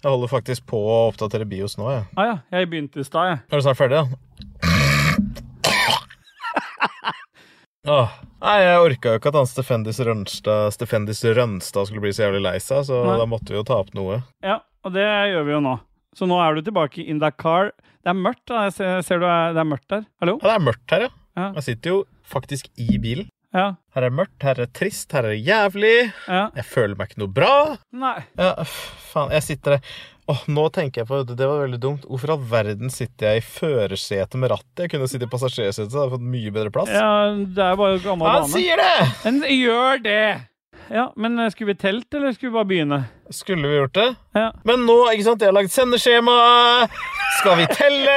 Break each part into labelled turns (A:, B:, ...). A: Jeg holder faktisk på å oppdatere BIOS nå. Jeg.
B: Ah, ja. Jeg begynte i stad, jeg.
A: Er du snart ferdig, da? Åh. Nei, jeg orka jo ikke at han Stefendis Rønstad, Stefendis Rønstad skulle bli så jævlig lei seg, så
B: Nei.
A: da måtte vi jo ta opp noe.
B: Ja, og det gjør vi jo nå. Så nå er du tilbake in that car. Det er mørkt, da. Jeg ser, ser du er, det er mørkt der. Hallo?
A: Ja, det er mørkt her, ja.
B: Ja.
A: Jeg sitter jo faktisk i bilen.
B: Ja.
A: Her er mørkt, her er trist, her er jævlig.
B: ja.
A: Jeg føler meg ikke noe bra.
B: Nei.
A: Ja, f- faen, jeg sitter der. Åh, nå tenker jeg på det. Det var veldig dumt. Hvorfor i all verden sitter jeg i førersetet med rattet? Jeg kunne sitte i passasjersetet, så hadde jeg fått mye bedre plass.
B: Ja, det er bare gammel
A: Han
B: vane.
A: sier det!
B: Men gjør det! Ja, men eh, skulle vi telt, eller skulle vi bare begynne?
A: Skulle vi gjort det?
B: Ja.
A: Men nå, ikke sant, jeg har lagd sendeskjema. Skal vi telle?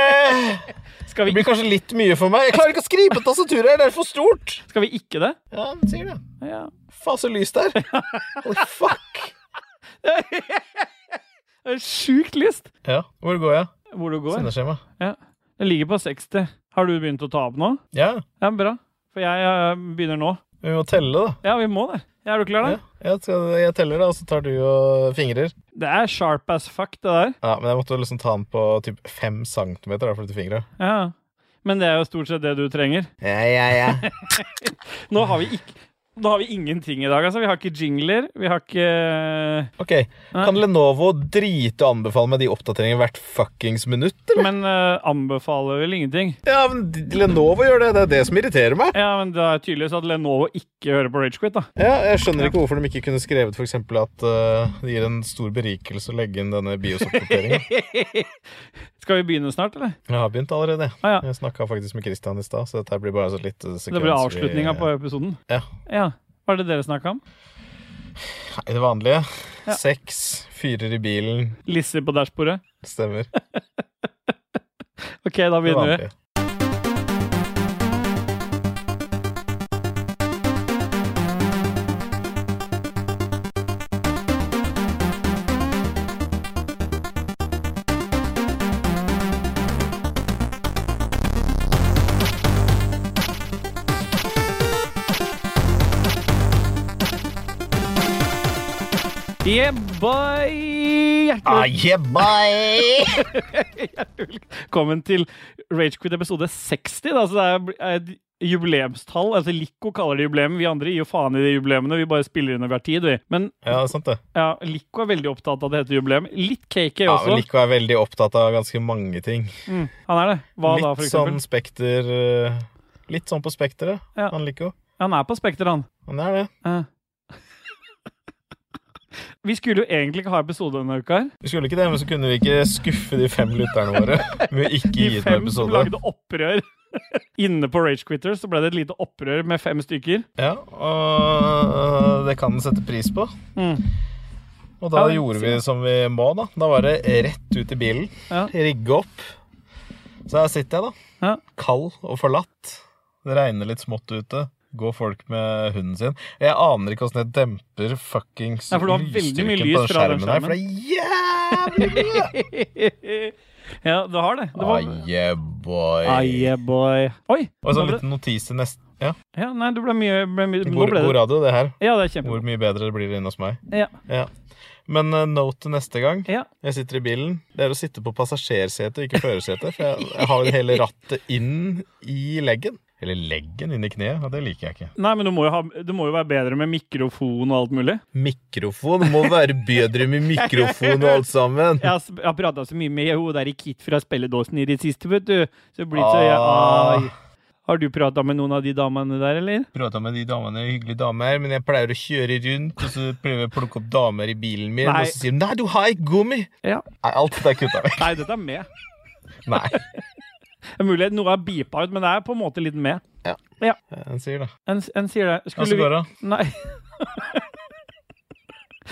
B: Skal
A: Det
B: vi,
A: blir kanskje litt mye for meg. Jeg klarer ikke å skrive på tastaturet, det er for stort.
B: skal vi ikke det?
A: Ja, han sier det.
B: Ja.
A: Faen, så lyst det er. Holy fuck.
B: Det er Sjukt lyst!
A: Ja, hvor går jeg?
B: Hvor du går.
A: Sendeskjema.
B: Ja. Jeg ligger på 60. Har du begynt å ta opp nå?
A: Ja,
B: Ja, bra. For jeg eh, begynner nå.
A: vi må telle, da.
B: Ja, vi må det. Ja, Er du klar, da?
A: Ja, jeg, skal, jeg teller, da, og så tar du og fingrer.
B: Det er sharp as fuck, det der.
A: Ja, Men jeg måtte liksom ta den på typ fem centimeter da, for dette fingre.
B: Ja. Men det er jo stort sett det du trenger.
A: Ja, ja, ja.
B: Nå har vi, ikk- nå har vi ingenting i dag, altså. Vi har ikke jingler. Vi har ikke
A: Ok, Kan Lenovo drite og anbefale meg de oppdateringene hvert fuckings minutt, eller?
B: Men eh, anbefaler vel ingenting.
A: Ja, men d- Lenovo gjør det. Det er det som irriterer meg.
B: Ja, men det er tydeligvis at Lenovo ikke hører på Ragequit, da.
A: Ja, Jeg skjønner ikke hvorfor de ikke kunne skrevet for eksempel at eh, det gir en stor berikelse å legge inn denne BIOS-oppdateringen.
B: Skal vi begynne snart, eller?
A: Jeg har begynt allerede. jeg.
B: Ah, ja.
A: Jeg snakka faktisk med Christian i stad, så dette her blir bare så litt eh, sekvens.
B: Det blir
A: vi-
B: avslutninga på episoden.
A: Ja.
B: Ja. Hva er det dere snakka om?
A: Nei, det vanlige.
B: Ja.
A: Seks, fyrer i bilen.
B: Lisser på dashbordet?
A: Stemmer.
B: OK, da
A: Det
B: begynner vi.
A: vanlige.
B: Yeah, boy!
A: Ah.
B: Hjertelig Velkommen til Ragequit episode 60. Da, så det er et jubileumstall. Altså, Lico kaller det jubileum. Vi andre gir jo faen i de jubileumene. Vi bare spiller inn over tid. Vi. Men
A: Ja, det er sant, det.
B: ja, Lico er veldig opptatt av at det heter jubileum. Litt KK
A: Ja,
B: også.
A: men Lico er veldig opptatt av ganske mange ting.
B: mm, han er det. Hva
A: litt
B: da, for
A: sånn
B: eksempel?
A: spekter eh, Litt sånn på spekteret,
B: Ja.
A: han Lico.
B: Han er på Spekter, han.
A: Han er det.
B: Ja. Vi skulle jo egentlig ikke ha episode denne uka. her.
A: Vi skulle ikke det, men så kunne vi ikke skuffe de fem lytterne våre med å ikke
B: De
A: gi ut en
B: fem som
A: episode.
B: lagde opprør inne på Ragequitters, så ble det et lite opprør med fem stykker.
A: Ja, og det kan den sette pris på.
B: Mm.
A: Og da
B: Ja, det-
A: gjorde vi som vi må, da. Da var det rett ut i bilen,
B: Ja.
A: rigge opp. Så her sitter jeg, da.
B: Ja.
A: Kald og forlatt. Det regner litt smått ute. Går folk med hunden sin. Jeg aner ikke åssen jeg demper fuckings
B: Nei, for du har veldig mye lys fra den skjermen.
A: her, for det er jævlig mye!
B: ja, du har det. det var...
A: Ah, yeah, boy.
B: Aie, boy. Oi!
A: Og en
B: nå
A: sånn
B: ble,
A: liten notis i neste Ja,
B: ja, nei, det ble mye, ble mye Nå
A: god,
B: ble
A: god
B: det
A: radio, det her.
B: Ja, det er kjempebra.
A: Hvor mye bedre det blir inne hos meg.
B: Ja.
A: Ja. Men uh, note til neste gang.
B: Ja.
A: Jeg sitter i bilen. Det er å sitte på passasjersetet, ikke førersetet. For jeg, jeg har jo hele rattet inn i leggen. Eller leggen inn i kneet. Ja, det liker jeg ikke.
B: Nei, men du må, jo ha, du må jo være bedre med mikrofon og alt mulig.
A: Mikrofon må være bedre med mikrofon og alt sammen.
B: Jeg har, sp- jeg har prata så mye med hun der i Kit fra spilledåsen i det siste, vet du. Så blir det så jeg,
A: Ah.
B: ai. Har du prata med noen av de damene der, eller?
A: Prata med de damene, hyggelige damer, men jeg pleier å kjøre rundt, og så prøver jeg å plukke opp damer i bilen min,
B: Nei.
A: og så sier de 'nei, du har ikke gummi'.
B: Ja.
A: Nei, alt dette er kutta vekk.
B: Nei, dette er med.
A: Nei.
B: Det er mulig noe er beepa ut, men det er på en måte litt med.
A: Den sier det.
B: En, en sier det.
A: Ja, så
B: Skulle
A: går
B: vi
A: det.
B: Nei.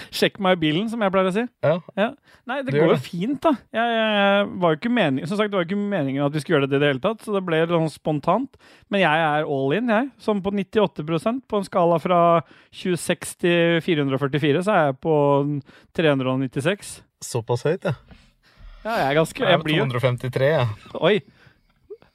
B: Sjekk meg i bilen, som jeg pleier å si.
A: Ja.
B: Ja. Nei, det
A: Det gjør
B: går jo
A: det.
B: fint, da. Jeg, jeg var jo ikke meningen, som sagt, det var jo ikke meningen at vi skulle gjøre det i det hele tatt, så det ble litt sånn spontant. Men jeg er all in, jeg. Som på 98 på en skala fra 26 til 444, så er jeg på 396.
A: Såpass høyt, ja.
B: Ja, jeg er ganske
A: Jeg
B: Jeg
A: er
B: blir jo
A: 253, jeg.
B: Oi!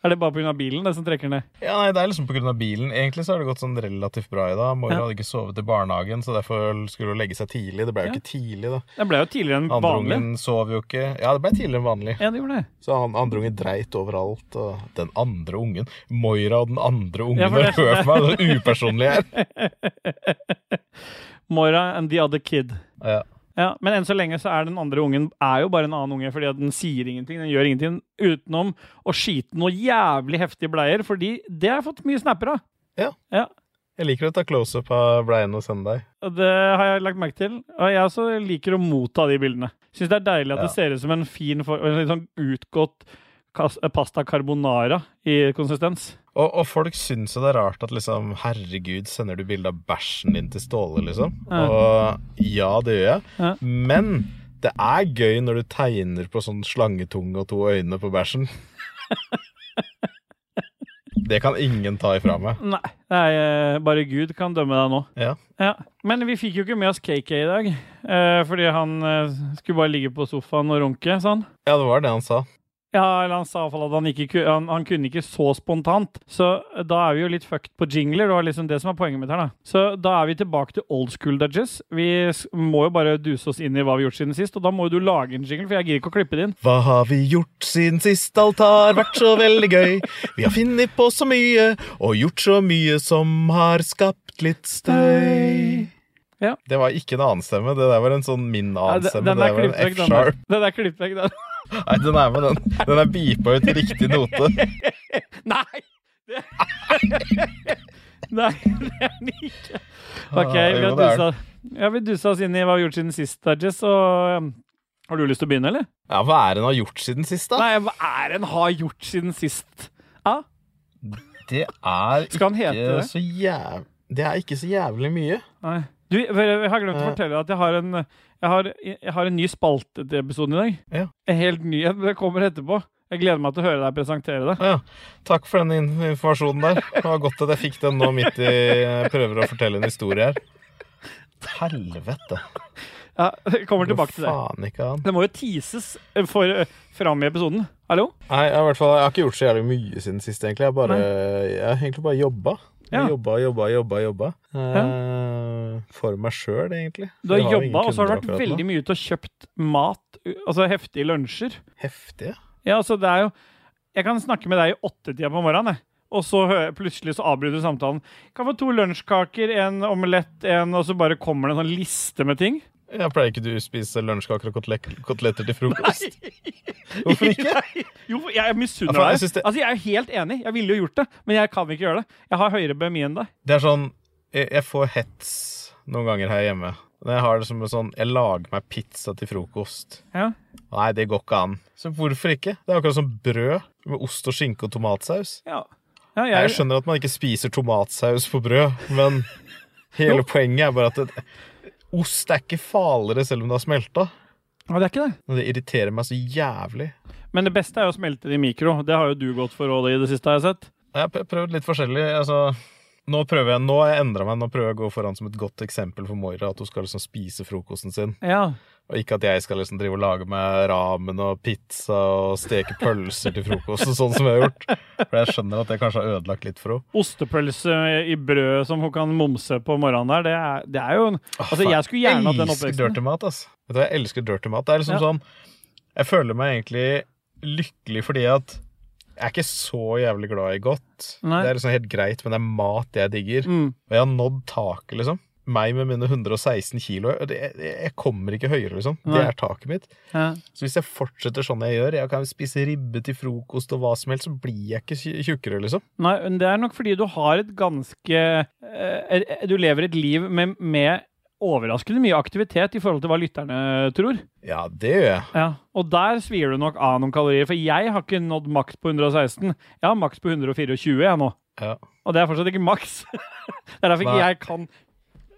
B: Er det bare pga. bilen det som trekker ned?
A: Ja, nei, Det er liksom pga. bilen. Egentlig så har det gått sånn relativt bra i dag. Mora
B: Ja.
A: hadde ikke sovet i barnehagen, så derfor skulle hun legge seg tidlig. Det ble jo ikke tidlig, da.
B: Den ble jo tidligere enn
A: Andre
B: vanlig.
A: ungen sov jo ikke. Ja, det ble tidligere enn vanlig.
B: Ja, det gjorde det.
A: Så han andre ungen dreit overalt. Og den andre ungen Moira og den andre ungen
B: Ja, for
A: har
B: det-
A: hørt meg! Det er så upersonlig her.
B: Moira and the other kid.
A: Ja.
B: Ja, Men enn så lenge så er den andre ungen er jo bare en annen unge, fordi at den sier ingenting. Den gjør ingenting utenom å skite noe jævlig heftige bleier, fordi det har jeg fått mye snapper av.
A: Jeg liker å ta close-up av bleiene og sende deg.
B: Og Det har jeg lagt merke til. Og jeg også liker å motta de bildene. Syns det er deilig at
A: Ja.
B: det ser ut som en fin, for, en litt sånn utgått kas- pasta carbonara i konsistens.
A: Og, og folk syns jo det er rart at liksom Herregud, sender du bilde av bæsjen din til Ståle, liksom?
B: Ja.
A: Og ja, det gjør jeg.
B: Ja.
A: Men det er gøy når du tegner på sånn slangetunge og to øyne på bæsjen. Det kan ingen ta ifra meg.
B: Nei, det er, eh, bare Gud kan dømme deg nå.
A: Ja.
B: Men vi fikk jo ikke med oss KK i dag, eh, fordi han eh, skulle bare ligge på sofaen og runke, sånn. sa han.
A: ja, det var det han sa.
B: Ja, eller han sa i hvert fall at han, ikke, ku- han, han kunne ikke så spontant. Så eh, da er vi jo litt fucked på jingler. Det var liksom det som er poenget mitt her. da. Så da er vi tilbake til old school dudges. Vi s- må jo bare duse oss inn i hva vi har gjort siden sist, og da må jo du lage en jingle, for jeg gidder ikke å klippe det inn.
A: Hva har vi gjort siden sist? Alt har vært så veldig gøy. Vi har funnet på så mye og gjort så mye som har skapt litt støy.
B: Ja.
A: Det var ikke en annen stemme. Det der var en sånn min
B: Nei,
A: annen
B: den,
A: stemme.
B: den
A: Det
B: er
A: der var
B: klippet
A: en
B: vekk, den der.
A: F-sharp.
B: Den er klippet vekk, den.
A: Nei, den er med, den. Den er beepa ut riktig note.
B: Nei! Det... Nei, det er den ikke. OK,
A: Ah,
B: vi
A: jo,
B: har
A: det er
B: dusa, ja, vi dusa oss inn i hva vi har gjort siden sist, da, Jess. Og um, har du lyst til å begynne, eller?
A: Ja, hva er det den har gjort siden sist, da?
B: Nei, hva er en har gjort siden sist? Ja,
A: Det er
B: skal han hete
A: ikke
B: det?
A: så jæv... Det er ikke så jævlig mye.
B: Nei. Du, jeg har glemt
A: Eh.
B: å fortelle deg at jeg har en, jeg har, jeg har en ny spalte til episoden i dag.
A: Ja.
B: En helt ny en. Det kommer etterpå. Jeg gleder meg til å høre deg presentere det.
A: Å Ja, takk for den in- informasjonen der. Det var godt at jeg fikk den nå midt i jeg prøver å fortelle en historie her. Helvete.
B: Ja, jeg kommer tilbake til det.
A: Faen ikke an.
B: Det må jo teases eh, for, eh, fram i episoden. Hallo?
A: Nei, jeg, har i hvert fall, jeg har ikke gjort så jævlig mye siden sist, egentlig. Jeg, har bare, jeg har egentlig bare jobba. Jeg
B: Ja.
A: Jobba, jobba, jobba. jobba. Eh, for meg sjøl, egentlig.
B: Du har
A: Jeg jo ingen
B: jobba, og så har
A: kunder
B: du vært
A: akkurat nå.
B: veldig mye ute og kjøpt mat, u- altså heftige lunsjer.
A: Heftig. ja.
B: Ja, altså det er jo Jeg kan snakke med deg i åttetida på morgenen, jeg. Og så hø- plutselig så avbryter du samtalen. Kan få to lunsjkaker, en omelett, en Og så bare kommer det en sånn liste med ting.
A: Jeg pleier ikke du å spise lunsjkaker og kotelek- koteletter til frokost? Hvorfor ikke?
B: Nei. Jo, for jeg misunner
A: Ja, for jeg
B: deg.
A: synes det-
B: Altså, jeg er jo helt enig. Jeg ville jo gjort det, men jeg kan ikke gjøre det. Jeg har høyere BMI enn deg.
A: Det er sånn Jeg, jeg får hets noen ganger her hjemme. Når jeg har det som en sånn Jeg lager meg pizza til frokost.
B: Ja.
A: Nei, det går ikke an. Så hvorfor ikke? Det er akkurat som brød med ost og skinke og tomatsaus.
B: Ja. Ja,
A: Jeg
B: jeg,
A: skjønner at man ikke spiser tomatsaus på brød, men hele poenget er bare at det, ost er ikke farligere selv om det har smelta.
B: ja, det er ikke det.
A: Men det irriterer meg så jævlig.
B: Men det beste er jo å smelte det i mikro. Det har jo du gått for Odd, i det siste, har jeg sett.
A: Jeg har pr- prøvd litt forskjellig. altså... Nå prøver jeg, nå har jeg endra meg. Nå prøver jeg å gå foran som et godt eksempel for Moira. At hun skal liksom spise frokosten sin.
B: Ja.
A: Og ikke at jeg skal liksom drive og lage meg ramen og pizza og steke pølser til frokost. og sånn som jeg har gjort. For jeg skjønner at det kanskje har ødelagt litt for henne.
B: ostepølse i brød som hun kan momse på morgenen der, det er, det er jo en Altså, jeg skulle gjerne hatt den
A: elsker
B: oppveksten.
A: dirty mat, ass. Vet du, hva, jeg elsker dirty mat. Det er liksom
B: Ja.
A: sånn Jeg føler meg egentlig lykkelig fordi at jeg er ikke så jævlig glad i godt.
B: Nei.
A: Det er liksom helt greit, men det er mat jeg digger.
B: Mm.
A: Og jeg har nådd taket, liksom. Meg med mine 116 kilo. Jeg, jeg, jeg kommer ikke høyere, liksom. Det
B: Nei.
A: er taket mitt.
B: Ja.
A: Så hvis jeg fortsetter sånn jeg gjør, jeg kan spise ribbe til frokost og hva som helst, så blir jeg ikke tj- tjukkere, liksom.
B: Nei, men det er nok fordi du har et ganske eh, Du lever et liv med, med overraskende mye aktivitet i forhold til hva lytterne tror.
A: Ja, det gjør jeg.
B: Ja. Og der svir du nok av noen kalorier, for jeg har ikke nådd maks på 116. Jeg har maks på 124 jeg nå.
A: Ja.
B: Og det er fortsatt ikke maks. det er derfor ikke
A: Nei.
B: jeg kan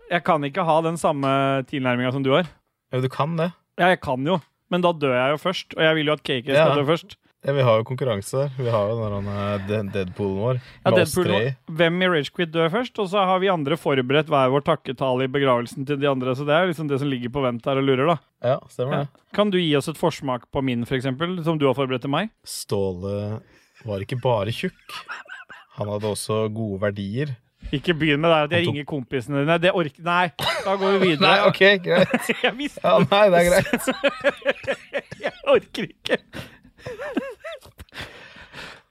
B: Jeg kan ikke ha den samme tilnærminga som du har.
A: Jo, du kan det.
B: Ja, jeg kan jo, men da dør jeg jo først. Og jeg vil jo at KK
A: Ja.
B: skal dø først.
A: Ja, vi har jo konkurranse der. Vi har jo den der, eh, de- Deadpoolen vår.
B: Ja,
A: med oss
B: Deadpool,
A: tre i.
B: hvem i Ragequit dør først? Og så har vi andre forberedt hver vår takketale i begravelsen til de andre. Så det er liksom det som ligger på vent her og lurer, da.
A: Ja, stemmer
B: Ja.
A: det.
B: Kan du gi oss et forsmak på min, for eksempel, som du har forberedt til meg?
A: Ståle var ikke bare tjukk. Han hadde også gode verdier.
B: Ikke begynn med det at jeg
A: Han tok-
B: ringer kompisene dine. Det ork... Nei, da går vi videre.
A: Nei, ok, greit.
B: Jeg visste
A: Ja, nei, det er greit.
B: Jeg orker ikke.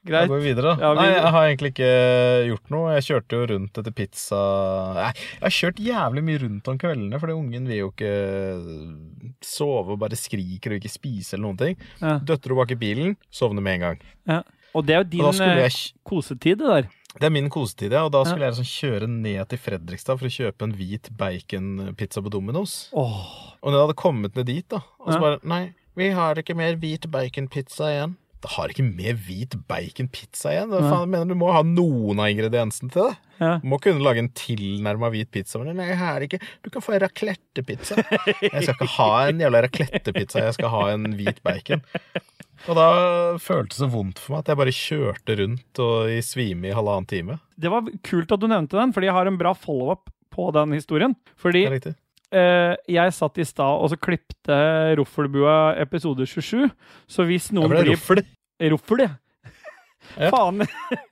A: Da
B: Greit.
A: går vi videre, da.
B: Ja, vi-
A: Nei, jeg har egentlig ikke gjort noe. Jeg kjørte jo rundt etter pizza Nei, jeg har kjørt jævlig mye rundt om kveldene, fordi ungen vil jo ikke eh, sove og bare skriker og ikke spise eller noen ting.
B: Ja.
A: Døtter hun bak i bilen, sovner med en gang.
B: Ja. Og det er jo
A: Og da
B: din
A: skulle
B: eh,
A: jeg
B: kosetid, det der.
A: Det er min kosetid, ja. Og da
B: Ja.
A: skulle jeg liksom kjøre ned til Fredrikstad for å kjøpe en hvit baconpizza på Domino's.
B: Åh.
A: Og når jeg hadde kommet ned dit, da, og så
B: Ja.
A: bare Nei, vi har ikke mer hvit baconpizza igjen. Det har ikke mer hvit baconpizza igjen? Hva
B: Nei.
A: faen mener du? Du må ha noen av ingrediensene til det.
B: Ja.
A: Du må kunne lage en tilnærma hvit pizza. Men nei, her er det ikke Du kan få en raclettepizza. Jeg skal ikke ha en jævla raclettepizza, jeg skal ha en hvit bacon. Og da føltes det så vondt for meg at jeg bare kjørte rundt og i svime i halvannen time.
B: Det var kult at du nevnte den, fordi jeg har en bra follow-up på den historien. Fordi
A: Det er riktig.
B: eh, jeg satt i stad og så klipte Roffelbua episode 27, så hvis
A: Jeg
B: noen
A: ble
B: blir
A: ruffel.
B: Roffel, ja.
A: Ja.
B: Faen.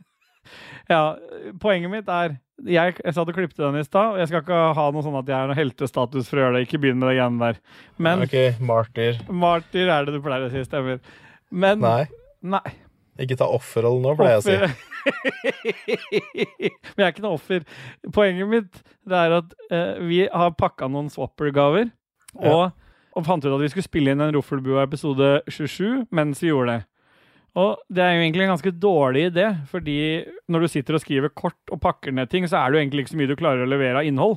B: ja, poenget mitt er jeg, jeg satt og klippet den i stad, og jeg skal ikke ha noe sånn at jeg er noe heltestatus for å gjøre det. Ikke begynn med det greiene der. Men
A: Ok, martyr.
B: martyr er det du pleier å si, stemmer. Men
A: Nei,
B: nei.
A: ikke ta offerrollen nå, pleier jeg å si.
B: Men jeg er ikke noe offer. Poenget mitt det er at eh, vi har pakka noen swapper-gaver. Og, og fant ut at vi skulle spille inn en Roffelbua episode 27 mens vi gjorde det. Og det er jo egentlig en ganske dårlig idé, fordi når du sitter og skriver kort og pakker ned ting, så er det jo egentlig ikke så mye du klarer å levere av innhold.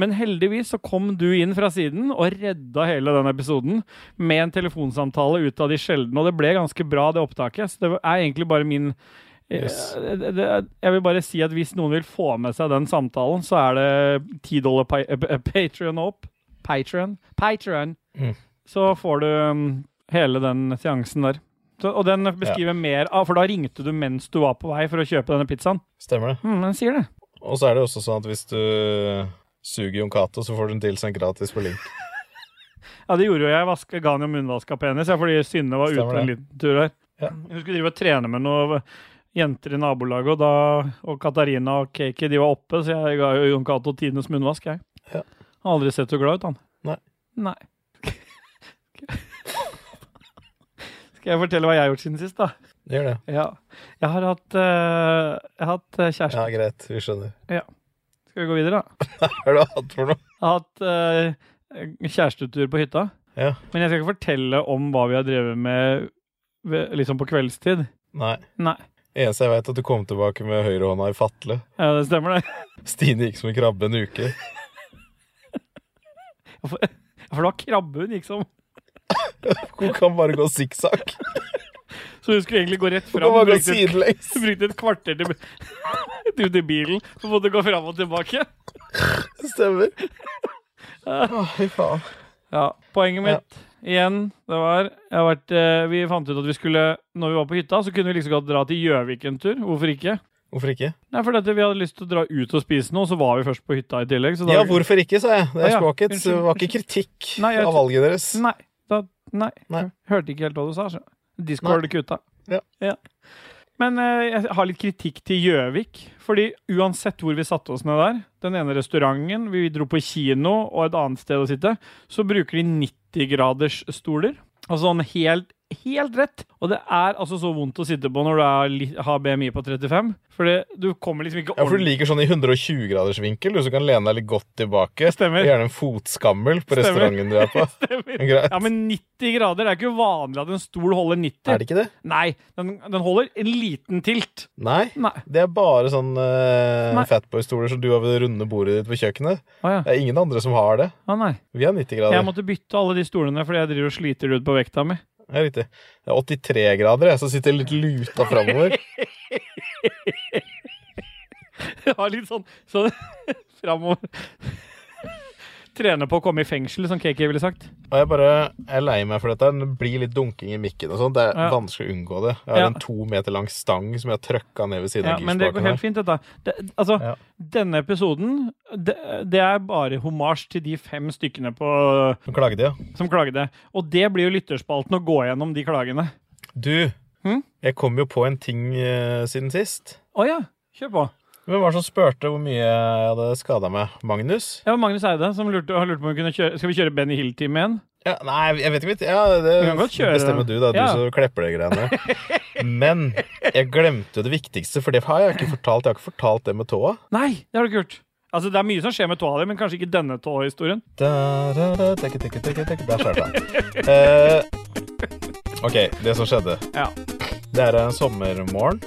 B: Men heldigvis så kom du inn fra siden og redda hele den episoden med en telefonsamtale ut av de sjeldne, og det ble ganske bra, det opptaket. Så det er egentlig bare min
A: Yes.
B: Eh, det, det, Jeg vil bare si at hvis noen vil få med seg den samtalen, så er det 10 dollar pa Patrion opp. Patreon Patreon
A: Mm.
B: Så får du um, hele den seansen der. Så, og den beskriver mer av, for da ringte du mens du var på vei for å kjøpe denne pizzaen.
A: Stemmer det.
B: Mm, den sier det.
A: Og så er det også sånn at hvis du suger Jon Cato, så får du en tilsendt gratis på link.
B: Ja, det gjorde jo jeg. Vaske, ga han jo munnvaska penis, ja, fordi Synne var ute
A: Stemmer
B: en
A: det.
B: liten tur her.
A: Ja.
B: Hun skulle drive og trene med noen jenter i nabolaget, og, da, og Katarina og Kiki de var oppe, så jeg ga jo Jon Cato tidenes munnvask, jeg.
A: Ja.
B: Har aldri sett så glad ut, han.
A: Nei.
B: Nei. Skal jeg fortelle hva jeg har gjort siden sist, da?
A: Gjør det.
B: Ja. Jeg har hatt, eh, jeg har hatt eh, kjæreste.
A: Ja, greit. Vi skjønner.
B: Skal vi gå videre, da?
A: Hva har du hatt for noe?
B: Jeg har hatt eh, kjærestetur på hytta.
A: Ja.
B: Men jeg skal ikke fortelle om hva vi har drevet med ved, liksom på kveldstid.
A: Nei.
B: Nei.
A: Eneste jeg vet, er at du kom tilbake med høyrehånda i fatle.
B: Ja, det stemmer, det.
A: Stine gikk som en krabbe en uke.
B: For, for det var krabbe hun gikk som.
A: Hun kan bare gå sikksakk.
B: Så hun skulle egentlig gå rett
A: Hun
B: fram.
A: kan bare
B: Hun
A: gå
B: brukte, et-
A: sidelengs.
B: hun brukte et kvarter til, til ut i bilen for å både gå fram og tilbake.
A: Stemmer.
B: Ah.
A: Å, fy faen.
B: Ja, Poenget
A: Ja.
B: mitt igjen, det var jeg har vært, eh, Vi fant ut at vi skulle Når vi var på hytta, så kunne vi like så godt dra til Gjøvik en tur. Hvorfor ikke?
A: Hvorfor ikke?
B: Nei, fordi at Vi hadde lyst til å dra ut og spise noe, og så var vi først på hytta i tillegg. Så da
A: Ja, hvorfor ikke, sa jeg. Det
B: Å,
A: er
B: Ah, ja.
A: språket. Det
B: Unnskyld,
A: var ikke kritikk
B: Nei, jeg
A: av valget deres.
B: Nei. Da, nei.
A: Nei.
B: Hørte ikke helt hva du sa. så. Discord kutta.
A: Ja.
B: Men eh, jeg har litt kritikk til Gjøvik. Fordi uansett hvor vi satte oss ned der, den ene restauranten, vi dro på kino og et annet sted å sitte, så bruker de 90-graders stoler. Altså sånn helt, helt rett. Og det er altså så vondt å sitte på når du er, li- har BMI på 35. For det, du kommer liksom ikke
A: Ja, for du
B: ordentlig
A: liker sånn i 120-gradersvinkel, du som kan lene deg litt godt tilbake.
B: Stemmer.
A: Og Gjerne en fotskammel på
B: Stemmer.
A: restauranten du er på.
B: stemmer.
A: Greit.
B: Ja, men 90 grader, det er ikke vanlig at en stol holder 90.
A: Er det ikke det?
B: Nei, den, den holder en liten tilt.
A: Nei.
B: Nei.
A: Det er bare sånn uh,
B: Nei.
A: fatboy-stoler som du har ved det runde bordet ditt på kjøkkenet.
B: Å ja.
A: Det er ingen andre som har det.
B: Å nei.
A: Vi har 90 grader.
B: Jeg måtte bytte alle de stolene fordi jeg driver og sliter ut på vekta mi.
A: Det er riktig. Det er 83 grader, jeg, som sitter litt luta framover.
B: Jeg har litt sånn, sånn framover. Trene på å komme i fengsel, som KK ville sagt.
A: Og jeg bare jeg er lei meg for dette. her. Det blir litt dunking i mikken og sånn. Det er
B: Ja.
A: vanskelig å unngå det. Jeg har
B: Ja.
A: en to meter lang stang som jeg har trøkka ned ved siden
B: Ja,
A: av
B: men det går
A: girspaken
B: helt
A: her.
B: fint, dette. Det, altså,
A: Ja.
B: denne episoden, det, det er bare homasj til de fem stykkene på,
A: Nå klagde jeg.
B: som klagde. Og det blir jo lytterspalten å gå gjennom de klagene.
A: Du,
B: Hm?
A: Jeg kom jo på en ting eh, siden sist.
B: Å ja, kjør på.
A: Hvem var det som spurte hvor mye jeg hadde skada meg? Magnus?
B: Det var Magnus Eide som lurte, har lurt på om vi kunne kjøre Skal vi kjøre Benny Hill-time igjen?
A: Ja, nei, jeg vet ikke. mitt. Ja, det
B: Du kan godt kjøre.
A: bestemmer du, da. Du
B: Ja.
A: som klepper de greiene. Men jeg glemte jo det viktigste, for det har jeg ikke fortalt. Jeg har ikke fortalt det med tåa.
B: Nei, det har du ikke gjort. Altså, det er mye som skjer med tåa di, men kanskje ikke denne tåhistorien.
A: Da, da, da, tekke, tekke, tekke, tekke. Der skjer det. Eh, OK, det som skjedde.
B: Ja.
A: Det er en sommermorgen.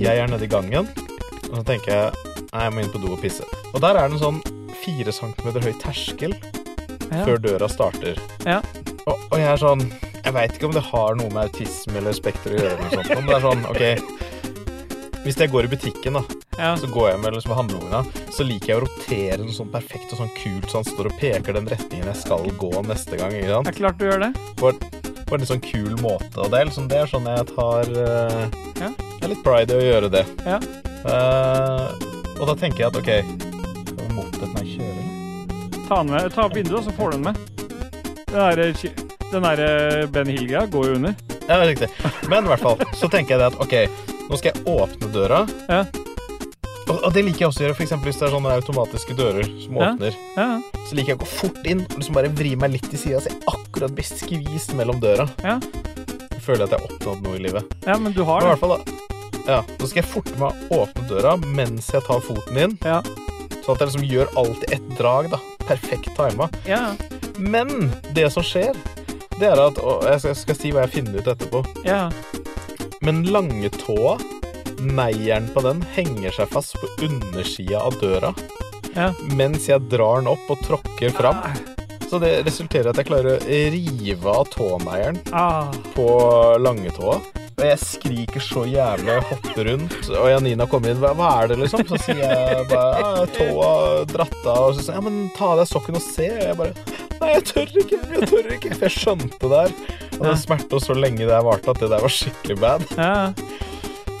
A: Jeg er nede i gangen, og så tenker jeg Nei, jeg må inn på do og pisse. Og der er det en sånn fire centimeter høy terskel
B: Ja.
A: før døra starter.
B: Ja.
A: Og, og jeg er sånn Jeg veit ikke om det har noe med autisme eller spekter å gjøre, eller noe sånt, men det er sånn, OK Hvis jeg går i butikken, da,
B: Ja.
A: så går jeg med liksom, handlevogna, så liker jeg å rotere den sånn perfekt og sånn kult, så han står og peker den retningen jeg skal gå neste gang. Ikke sant?
B: Det er klart du gjør det.
A: På en litt sånn kul måte. Og det er liksom det er sånn jeg tar eh,
B: Ja.
A: Det er litt pride i å gjøre det.
B: Ja.
A: Eh, og da tenker jeg at OK Mopeden er kjøring.
B: Ta, den med, ta opp vinduet, og så får du den med. Den der, chi- den der Ben Hill-greia går jo under.
A: Ja, det er riktig. Men i hvert fall så tenker jeg det at OK, nå skal jeg åpne døra.
B: Ja.
A: Og, og det liker jeg også å gjøre, for eksempel hvis det er sånne automatiske dører som
B: Ja.
A: åpner.
B: Ja,
A: Så liker jeg å gå fort inn og liksom bare vri meg litt til sida, så jeg akkurat blir skvist mellom døra.
B: Ja.
A: Jeg føler at jeg har oppnådd noe i livet.
B: ja men du har
A: Men i
B: det.
A: hvert fall da ja, Nå skal jeg forte meg å åpne døra mens jeg tar foten inn.
B: Ja.
A: Sånn at jeg liksom gjør alt i ett drag. da Perfekt tima.
B: Ja.
A: Men det som skjer, det er at og Jeg skal, skal si hva jeg finner ut etterpå.
B: ja.
A: Men langetåa, neieren på den, henger seg fast på undersida av døra.
B: Ja.
A: Mens jeg drar den opp og tråkker fram.
B: Ah,
A: Så det resulterer i at jeg klarer å rive av tåneieren
B: Ah.
A: på langetåa. Og jeg skriker så jævlig, og jeg hopper rundt, og Janina kommer inn. Hva, hva er det, liksom? Så sier jeg bare ja, tåa dratt av. Og så sier jeg, ja, men ta av deg sokken og se. Og jeg bare Nei, jeg tør ikke. Jeg tør ikke. For jeg skjønte der. Og
B: Ja.
A: det smerta så lenge det her varte, at det der var skikkelig bad.
B: Ja.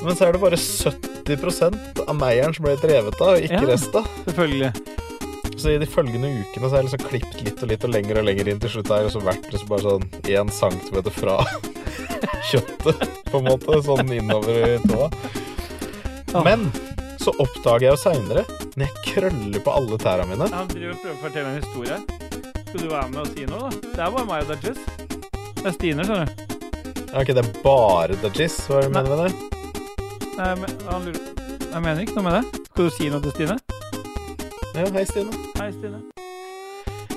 A: Men så er det bare 70 av meieren som ble drevet av, og ikke
B: Ja.
A: resten.
B: Selvfølgelig.
A: Så i de følgende ukene så har jeg liksom klippet litt og litt og lenger og lenger inn. Til slutt har jeg liksom vært liksom bare sånn én centimeter fra kjøttet, på en måte. Sånn innover i tåa.
B: Ah.
A: Men så oppdager jeg jo seinere, når jeg krøller på alle tæra mine
B: Han driver og prøver å fortelle en historie. Skal du være med og si noe, da? Det er bare meg og Dajis. Det er Stine, skjønner du.
A: Er ikke det bare dajis? Hva er det du mener med det?
B: Nei, men, han lurer. Jeg mener ikke noe med det. Skal du si noe til Stine?
A: Ja, hei, Stine.
B: Hei, Stine.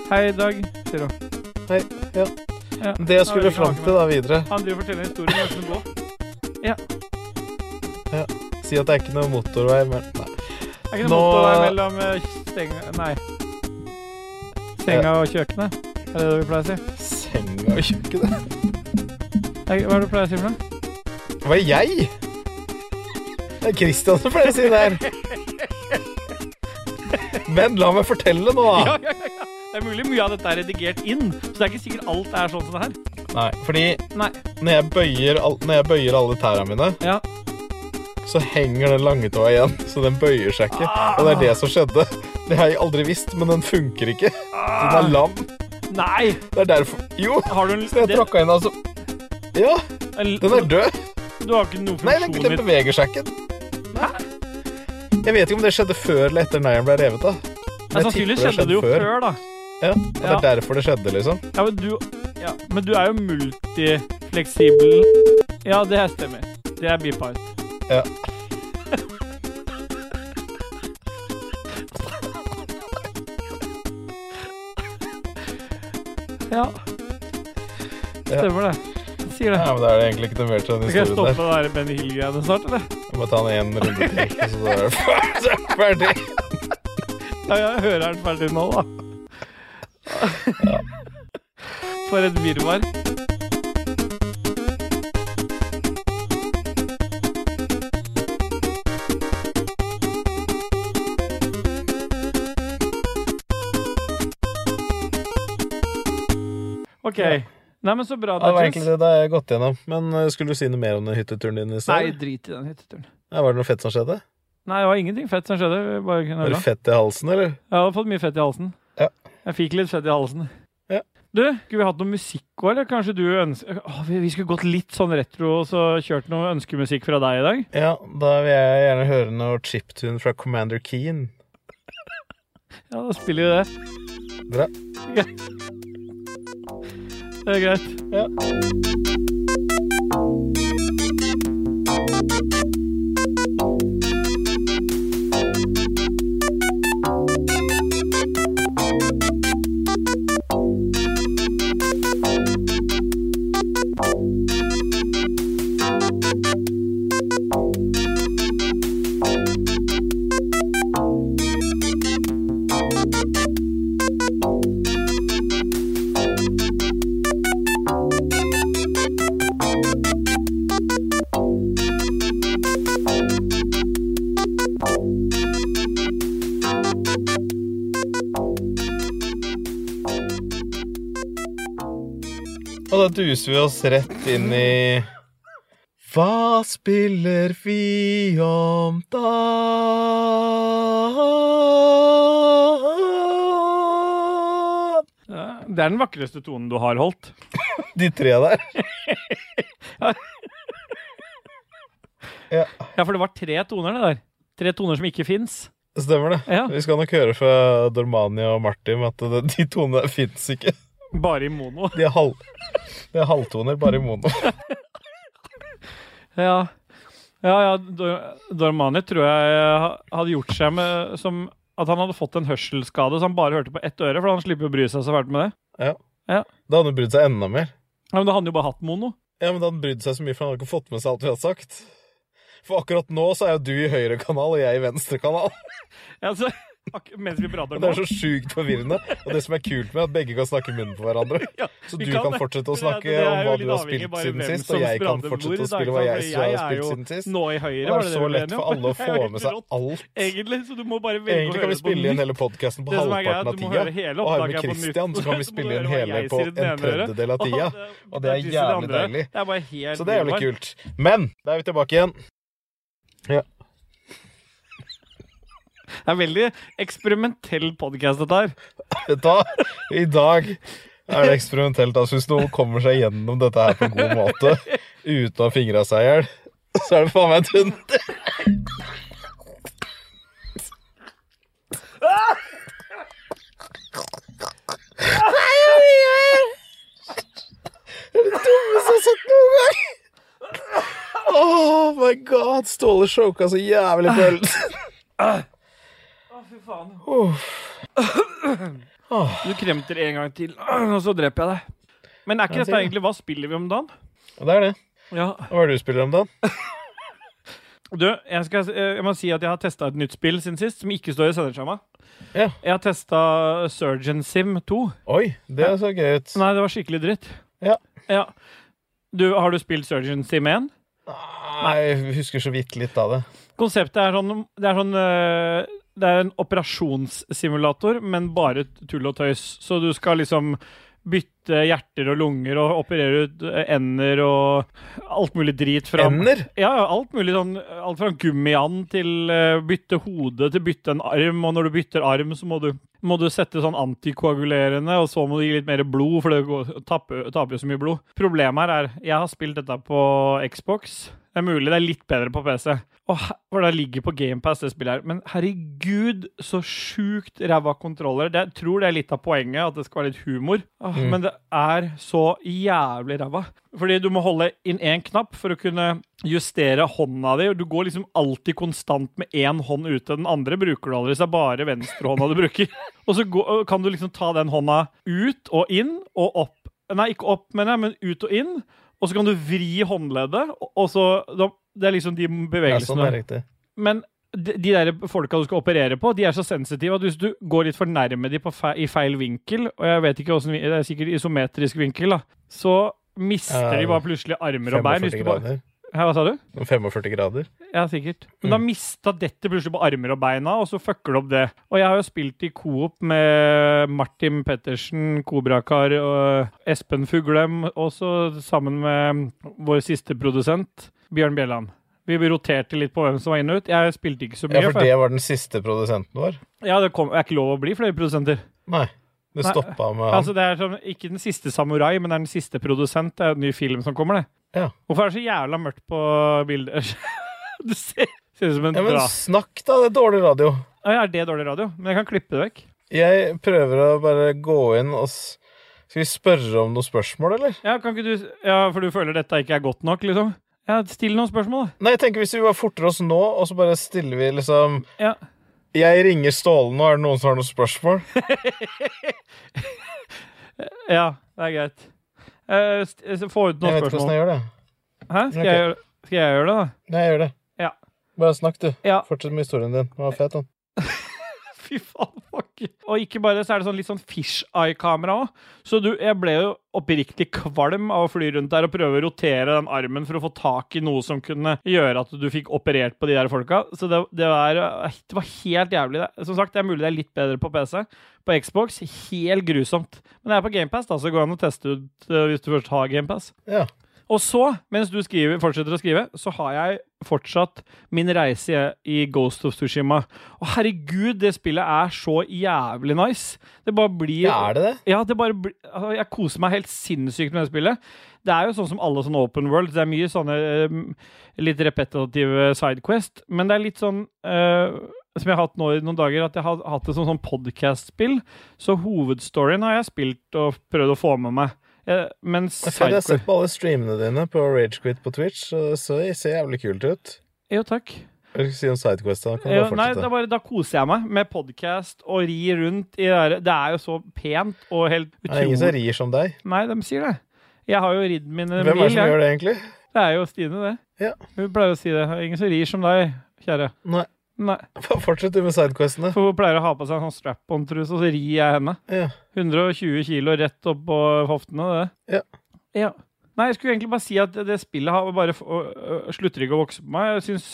B: Hei, Dag, sier hun.
A: Hei. Ja.
B: Ja.
A: Det jeg skulle fram til da videre
B: Han driver og forteller en historie om hvordan det går.
A: Si at det er ikke noe motorvei, men Nei.
B: Er ikke det
A: Nå-
B: motorvei mellom eh, stenga Nei. Senga og kjøkkenet? Er det det vi pleier å si?
A: Senga og kjøkkenet.
B: Er- Hva er det du pleier å si for noe?
A: Hva er jeg? Det er Christian som pleier å si det her. Men la meg fortelle nå, da.
B: ja, ja, ja. Det er mulig mye av dette er redigert inn, så det er ikke sikkert alt er sånn som det her.
A: Nei, fordi
B: Nei.
A: når jeg bøyer, al når jeg bøyer alle tæra mine,
B: Ja.
A: så henger den lange tåa igjen. Så den bøyer seg ikke. Og det er det som skjedde. Det har jeg aldri visst, men den funker ikke. Så den er lam.
B: Ah, Nei!
A: Det er derfor Jo,
B: Har du en
A: så jeg
B: det-
A: tråkka inn, altså. Ja,
B: en-
A: den er død.
B: Du har ikke noe
A: Nei, den,
B: funksjon
A: den
B: i
A: beveger seg ikke. Nei. Jeg vet ikke om det skjedde før eller etter neieren ble revet av. jeg
B: Nei, Sannsynligvis
A: tipper det
B: skjedde det jo
A: skjedde
B: før, da.
A: Ja, og Det er derfor det skjedde, liksom.
B: Ja, men du, ja, men du er jo multifleksibel. Ja, det her stemmer. Det er beepa ut.
A: Ja.
B: Ja. Stemmer det. Sier det.
A: Ja, men Da er det egentlig ikke noe mer til den
B: Skal jeg
A: historien
B: stoppe
A: der.
B: det der Benny Hill-greiene snart, eller?
A: Jeg må ta den en runde til, og så er det ferdig. Så er det ferdig.
B: Ja, jeg hører den ferdig nå, da. For et virvar. OK. Nei, men så bra.
A: Ja, Det var
B: Dajis.
A: egentlig det da jeg har gått gjennom. Men eh, skulle du si noe mer om den hytteturen din i
B: Nei,
A: sted?
B: drit i den hytteturen.
A: Ja, var det noe fett som skjedde?
B: Nei, det var ingenting fett som skjedde. vi Bare kunne
A: Var
B: høre.
A: det fett i halsen, eller?
B: Jeg hadde fått mye fett i halsen.
A: Ja.
B: Jeg fikk litt fett i halsen.
A: Ja.
B: Du, skulle vi hatt noe musikk òg, eller kanskje du ønsker Åh, vi, vi skulle gått litt sånn retro og så kjørt noe ønskemusikk fra deg i dag.
A: Ja, da vil jeg gjerne høre noe chiptune fra Commander Keen.
B: Ja, da spiller vi det.
A: Bra.
B: Det er greit.
A: Ja. Og da duser vi oss rett inn i Hva spiller vi om da?
B: Ja, Det er den vakreste tonen du har holdt.
A: De tre der.
B: Ja, for det var tre toner, det der. Tre toner som ikke fins.
A: Stemmer det.
B: Ja.
A: Vi skal nok høre fra Dormani og Martin at det- de tonene der fins ikke.
B: Bare i mono.
A: De er, halv, de er halvtoner, bare i mono.
B: Ja, ja, ja Dor Dormani tror jeg eh, ha- hadde gjort seg med som at han hadde fått en hørselsskade så han bare hørte på ett øre, for han slipper å bry seg så fælt med det.
A: Da hadde hun brydd seg enda mer.
B: Ja, men da hadde han jo bare hatt mono.
A: Ja, men Da hadde han brydd seg så mye, for han hadde ikke fått med seg alt vi hadde sagt. For akkurat nå så er jo du i høyre kanal og jeg i venstre kanal.
B: Ja, så, ak- mens vi prater
A: Og
B: nå.
A: Det er så sjukt forvirrende. Og det som er kult med, er at begge kan snakke i munnen på hverandre.
B: Ja,
A: Så
B: vi
A: du kan
B: det.
A: fortsette å
B: For det er-
A: snakke
B: det er
A: om
B: jo
A: hva
B: litt
A: du har
B: avhengig
A: spilt
B: bare
A: siden
B: hvem
A: sist,
B: som
A: og jeg kan
B: sprader hvor,
A: fortsette å
B: da,
A: spille
B: ikke
A: hva jeg
B: sant? For
A: har
B: jeg er
A: spilt
B: jo
A: siden sist.
B: Nå i
A: Det
B: høyre, var
A: er
B: det
A: så
B: det vi ble
A: lett
B: enige
A: for
B: om?
A: alle å
B: Det er
A: få
B: helt
A: med seg
B: rått.
A: alt.
B: Egentlig, så du må bare velge
A: Egentlig kan vi spille inn hele podkasten på
B: Det som er greia,
A: halvparten av
B: du må høre
A: tida.
B: hele
A: Og har vi
B: opptaket på nytt,
A: Christian, så kan vi
B: så må du
A: spille inn
B: høre hva
A: hele
B: jeg
A: på
B: sier i
A: en
B: det ene øret.
A: tredjedel av tida. og det er
B: disse
A: jævlig
B: andre.
A: deilig.
B: Det er bare helt
A: Så det er jævlig
B: nydelig.
A: kult. Men da er vi tilbake igjen.
B: Det er veldig eksperimentell podkast, dette her.
A: Da, I dag er det eksperimentelt. Altså, hvis noen kommer seg gjennom dette her på en god måte uten å ha fingra seg i hjel, så er det faen meg en tunn. Det er det dummeste jeg har sett noen gang. Oh my god, Ståle choka så jævlig på helsen.
B: Å, fy faen.
A: Uff. Ah. Åh.
B: Du kremter en gang til, og så dreper jeg deg. Men er ikke
A: Jeg
B: dette
A: sier det.
B: egentlig Hva spiller vi om dagen?
A: Og Det er det.
B: Ja.
A: Hva er det du spiller om, Dan?
B: Du, jeg, skal, eh, jeg må si at jeg har testa et nytt spill siden sist, som ikke står i senderskjema.
A: Ja.
B: Jeg har testa Surgeon Sim 2.
A: Oi, det så gøy ut.
B: Nei, det var skikkelig dritt.
A: Ja.
B: Ja. Du, har du spilt Surgeon Sim 1?
A: Nei, jeg husker så vidt litt av det.
B: Konseptet er sånn Det er, sånn, øh, det er en operasjonssimulator, men bare tull og tøys. Så du skal liksom bytte hjerter og lunger og operere ut øh, ender og alt mulig drit fra
A: Ender?
B: Ja, ja, alt mulig sånn Alt fra gummiand til øh, bytte hode til bytte en arm, og når du bytter arm, så må du, må du sette sånn antikoagulerende, og så må du gi litt mer blod, for det går, taper, taper jo så mye blod. Problemet her er Jeg har spilt dette på Xbox. Det er mulig det er litt bedre på PC. Og he- for det ligger på GamePass, det spillet her. Men herregud, så sjukt ræva kontroller. Det, jeg tror det er litt av poenget, at det skal være litt humor. Åh,
A: Mm.
B: Men det er så jævlig ræva. Fordi du må holde inn én knapp for å kunne justere hånda di. og Du går liksom alltid konstant med én hånd ute. Den andre bruker du aldri, så det er bare venstrehånda du bruker. Og så gå- kan du liksom ta den hånda ut og inn og opp. Nei, ikke opp, mener jeg, men ut og inn. Og så kan du vri håndleddet, og- og så da- Det er liksom de
A: Ja,
B: bevegelsene.
A: sånn er riktig.
B: Men de, de der folka du skal operere på, de er så sensitive at hvis du går litt for nærme de på fe i feil vinkel, og jeg vet ikke hvordan, vi- det er sikkert isometrisk vinkel, da, så mister
A: Ja,
B: de bare plutselig armer og bein. Hvis
A: 45
B: du bare,
A: grader.
B: Hæ, hva sa du?
A: Om 45 grader.
B: Ja, sikkert.
A: Mm.
B: Men da mista dette plutselig på armer og beina, og så fucker du opp det. Og jeg har jo spilt i coop med Martin Pettersen, Kobrakar og Espen Fuglem, også sammen med vår siste produsent, Bjørn Bjelland. Vi roterte litt på hvem som var inne og ut. Jeg spilte ikke så mye.
A: Ja, for
B: for jeg-
A: det var den siste produsenten vår.
B: ja, det kom, er ikke lov å bli flere produsenter.
A: Nei. Det
B: Nei,
A: stoppa med han.
B: Altså, det er som, ikke den siste samurai, men det er den siste produsent. Det er en ny film som kommer, det.
A: Ja.
B: Hvorfor er det så jævla mørkt på bilder? det ser, ser ut som en
A: ja, men
B: dra...
A: snakk, da. Det er dårlig radio.
B: Oi, Er det dårlig radio? Men jeg kan klippe det vekk.
A: Jeg prøver å bare gå inn og s- Skal vi spørre om noen spørsmål, eller?
B: Ja, kan ikke du... ja, for du føler dette ikke er godt nok, liksom? Ja, still noen spørsmål,
A: Nei, jeg tenker hvis vi bare forter oss nå, og så bare stiller vi liksom
B: da. Ja.
A: Jeg ringer Ståle nå, er det noen som har noen spørsmål?
B: ja, det er greit. Eh, st- så få ut
A: Jeg
B: noen
A: vet ikke hvordan
B: spørsmål.
A: jeg gjør det.
B: Hæ? Skal, jeg gjøre... Skal jeg gjøre det, da?
A: Nei, jeg gjør det.
B: Ja.
A: Bare snakk, du.
B: Ja.
A: Fortsett med historien din. Den var fet, den.
B: Fy faen, fuck. Og ikke bare det, så er det sånn litt sånn fisheye-kamera òg. Så du, jeg ble jo oppriktig kvalm av å fly rundt der og prøve å rotere den armen for å få tak i noe som kunne gjøre at du fikk operert på de der folka. Så det, det, var, det var helt jævlig. Det. Som sagt, det er mulig det er litt bedre på PC. På Xbox, helt grusomt. Men det er på GamePass, da, så går det an å teste ut eh, hvis du først har GamePass.
A: Ja.
B: Og så, mens du skriver, fortsetter å skrive, så har jeg fortsatt min reise i Ghost of Tsushima. Og herregud, det spillet er så jævlig nice. Det bare blir
A: ja. Er det det?
B: Ja, det bare blir altså, Jeg koser meg helt sinnssykt med det spillet. Det er jo sånn som alle sånne open world. Det er mye sånne eh, litt repetitive sidequest, men det er litt sånn eh, som jeg har hatt nå i noen dager, at jeg har hatt det som sånn podcast-spill. Så hovedstoryen har jeg spilt og prøvd å få med meg. Eh, men
A: Jeg føler jeg har
B: sidequest
A: sett på alle streamene dine på Ragequit på Twitch, og det ser, ser jævlig kult ut.
B: Jo, takk.
A: Hva skal du si om Sidequest, da? Kan du
B: Ja,
A: bare
B: nei, det
A: fortsette?
B: er bare, da koser jeg meg med podkast og ri rundt i det der. Det er jo så pent og helt
A: Det er ingen som
B: utrolig.
A: rir som deg.
B: Nei, de sier det. Jeg har jo ridd mine
A: Hvem er det
B: mil.
A: som
B: jeg.
A: gjør det, egentlig?
B: Det er jo Stine, det.
A: Ja.
B: Hun pleier å si det. Ingen som rir som deg, kjære.
A: Nei,
B: Nei.
A: Fortsett du med sidequestene.
B: For hun pleier å ha på seg en sånn strap-on-truse, og så rir jeg henne.
A: Ja.
B: 120 kilo rett opp på hoftene, det. Ja. Nei, jeg skulle egentlig bare si at det spillet har bare f- å- å- slutter ikke å vokse på meg. Jeg syns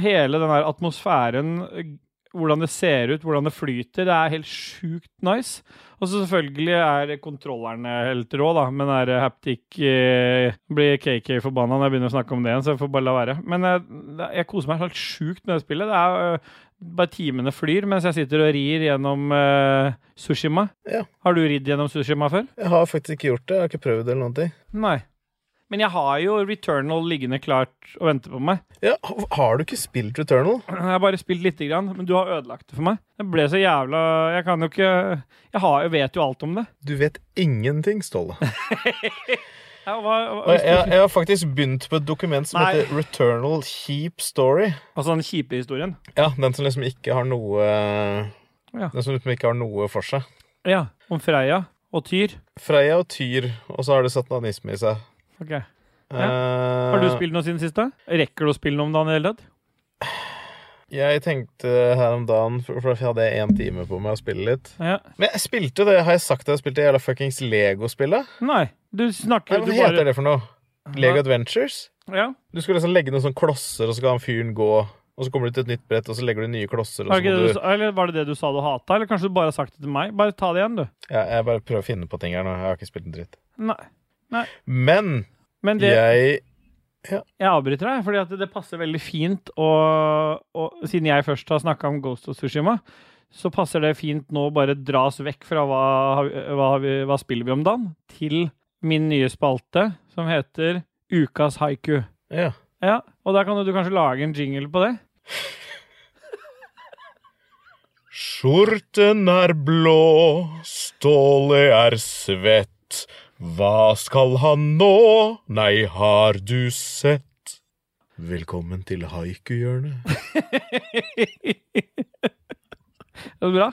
B: hele den der atmosfæren, øh, hvordan det ser ut, hvordan det flyter, det er helt sjukt nice. Og så selvfølgelig er kontrollerne helt rå, da, men er haptic eh, Blir KK forbanna når jeg begynner å snakke om det igjen, så jeg får bare la være. Men jeg, jeg koser meg helt sjukt med det spillet. Det er øh, bare timene flyr mens jeg sitter og rir gjennom eh, Sushima.
A: Ja.
B: Har du ridd gjennom Sushima før?
A: Jeg har faktisk ikke gjort det. Jeg har ikke prøvd det eller noen ting.
B: Nei. Men jeg har jo Returnal liggende klart og venter på meg.
A: Ja, har du ikke spilt Returnal?
B: Jeg har bare spilt lite grann, men du har ødelagt det for meg. Det ble så jævla Jeg kan jo ikke Jeg har, jeg vet jo alt om det.
A: Du vet ingenting, Ståle.
B: Jeg, hva,
A: Og
B: hva,
A: jeg, jeg, jeg har faktisk begynt på et dokument som
B: Nei.
A: heter Returnal Keep Story.
B: altså den kjipe historien.
A: Ja, den som liksom ikke har noe
B: Ja.
A: Den som liksom ikke har noe for seg.
B: Ja. Om Freya og Tyr.
A: Freya og Tyr, og så har det satanisme i seg.
B: Ok.
A: Eh,
B: Har du spilt noe siden siste? Rekker du å spille noe om dagen i det hele tatt?
A: Jeg tenkte her om dagen, for for jeg hadde én time på meg å spille litt.
B: Ja.
A: Men jeg spilte det, har jeg sagt at jeg spilte det jævla fuckings Lego-spillet?
B: Nei. Du
A: Nei,
B: snakker
A: men
B: du
A: Hva
B: bare-
A: heter det for noe? Lego Adventures?
B: Ja.
A: Du skulle liksom legge noen sånne klosser, og så skal han fyren gå. Og så kommer du til et nytt brett, og så legger du nye klosser. Og
B: Var
A: så
B: det, ikke
A: må
B: det du,
A: du...
B: sa- eller var det det du sa du hata, eller kanskje du bare har sagt det til meg? Bare ta det igjen, du.
A: Ja, jeg bare prøver å finne på ting her nå. Jeg har ikke spilt en dritt.
B: Nei.
A: Men
B: Men det,
A: jeg
B: jeg avbryter deg, fordi at det passer veldig fint å å- Siden jeg først har snakka om Ghost of Tsushima, så passer det fint nå å bare dras vekk fra hva, har vi- hva, har vi- hva spiller vi om dagen, til min nye spalte som heter Ukas haiku.
A: Ja.
B: Ja, og der kan du, du kanskje lage en jingle på det?
A: Skjorten er blå, Ståle er svett. Hva skal han nå? Nei, har du sett? Velkommen til haikuhjørnet.
B: Det er bra.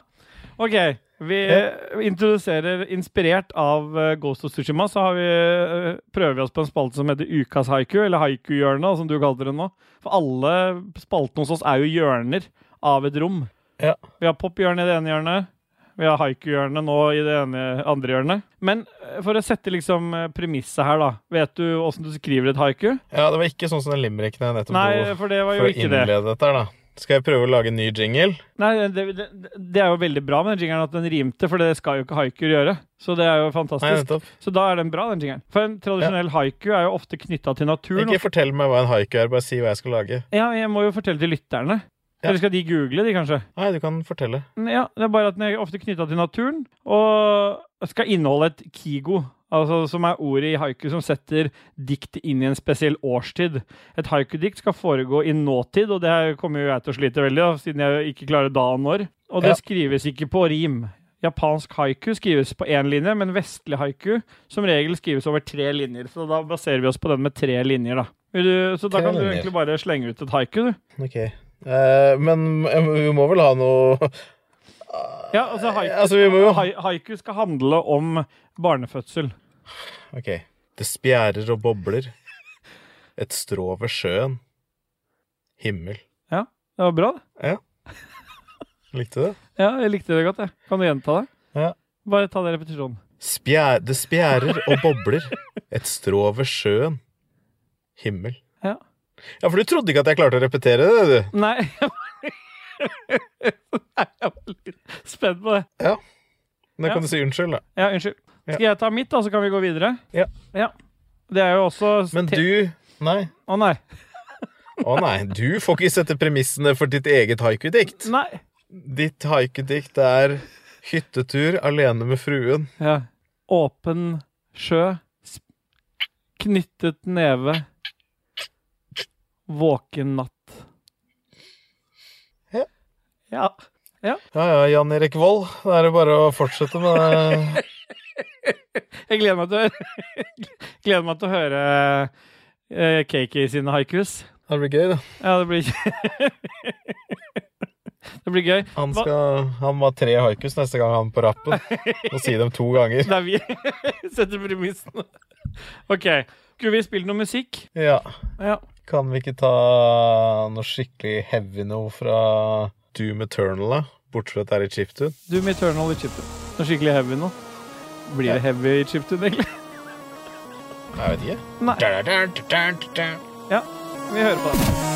B: Ok, vi eh, introduserer Inspirert av eh, Ghost of Tsushima, så har vi, eh, prøver vi oss på en spalte som heter Ukas haiku, eller Haikuhjørnet, som du kalte det nå. For alle spaltene hos oss er jo hjørner av et rom.
A: Ja.
B: Vi har pophjørnet i det ene hjørnet. Vi har haiku-hjørnet nå i det ene, andre hjørnet. Men eh, for å sette liksom eh, premisset her, da. Vet du åssen du skriver et haiku?
A: Ja, det var ikke sånn som den limericken jeg nettopp
B: Nei,
A: dro
B: for det var
A: for
B: jo
A: å
B: ikke det.
A: innlede dette her, da. Skal jeg prøve å lage en ny jingle?
B: Nei, det, det, det er jo veldig bra med den jingeren at den rimte, for det skal jo ikke haikuer gjøre. Så det er jo
A: Nei,
B: fantastisk.
A: nettopp.
B: så da er den bra, den jingeren. For en tradisjonell haiku er jo ofte knytta til naturen.
A: Ikke fortell meg hva en haiku er, bare si hva jeg skal lage.
B: Ja, jeg må jo fortelle til lytterne.
A: Ja.
B: Eller skal de google de, kanskje?
A: Nei, du kan fortelle.
B: Ja, det er bare at den er ofte knytta til naturen, og skal inneholde et kigo. Altså, som er ordet i haiku som setter dikt inn i en spesiell årstid. Et haikudikt skal foregå i nåtid, og det her kommer jo jeg til å slite veldig, da, siden jeg ikke klarer da og når. Og det
A: Ja.
B: skrives ikke på rim. Japansk haiku skrives på én linje, men vestlig haiku som regel skrives over tre linjer. Så da baserer vi oss på den med tre linjer, da. Vil du, så da
A: Tre
B: kan du
A: linjer.
B: egentlig bare slenge ut et haiku, du.
A: Ok. Eh, men eh, vi må vel ha noe
B: Ja, altså haiku,
A: Altså, vi må jo ha
B: hai, haiku skal handle om barnefødsel.
A: Ok. Det spjærer og bobler. Et strå ved sjøen. Himmel.
B: Det var bra, det.
A: Likte du det?
B: Ja, jeg likte det godt. jeg. Kan du gjenta det?
A: Ja.
B: Bare ta det i repetisjonen.
A: Spjæ det spjærer og bobler. Et strå ved sjøen. Himmel.
B: Ja.
A: Ja, for du trodde ikke at jeg klarte å repetere det, du.
B: Nei. Nei, jeg var litt spent på det.
A: Da
B: Ja.
A: kan du si unnskyld, da.
B: Ja, unnskyld.
A: Ja.
B: Skal jeg ta mitt, da, så kan vi gå videre?
A: Ja.
B: Det er jo også
A: Men
B: te-
A: du Nei.
B: Å, nei.
A: Å nei, du får ikke sette premissene for ditt eget haikudikt.
B: Nei.
A: Ditt haikudikt er 'Hyttetur alene med fruen'.
B: Ja. Åpen sjø. Sp- Knyttet neve. Våken natt.
A: Ja.
B: Ja.
A: Ja ja, Jan Erik Vold. Da er det bare å fortsette med det.
B: Jeg gleder meg til å høre, gleder meg til å høre eh, KK sine haikus.
A: Det blir gøy, da.
B: Ja, det blir Det blir gøy.
A: Han, skal, han må ha tre haikus neste gang han er på rappen. Og si dem to ganger.
B: Der vi setter premissene. OK. Skulle vi spille noe musikk?
A: Ja.
B: Ja.
A: Kan vi ikke ta noe skikkelig heavy noe fra Doom Eternal, da? Bortsett fra at det er i chiptune.
B: Doom Eternal i chiptune. Noe skikkelig heavy nå. Blir det heavy i chiptune, egentlig?
A: Jeg vet ikke.
B: Nei. Ja, vi hører på det.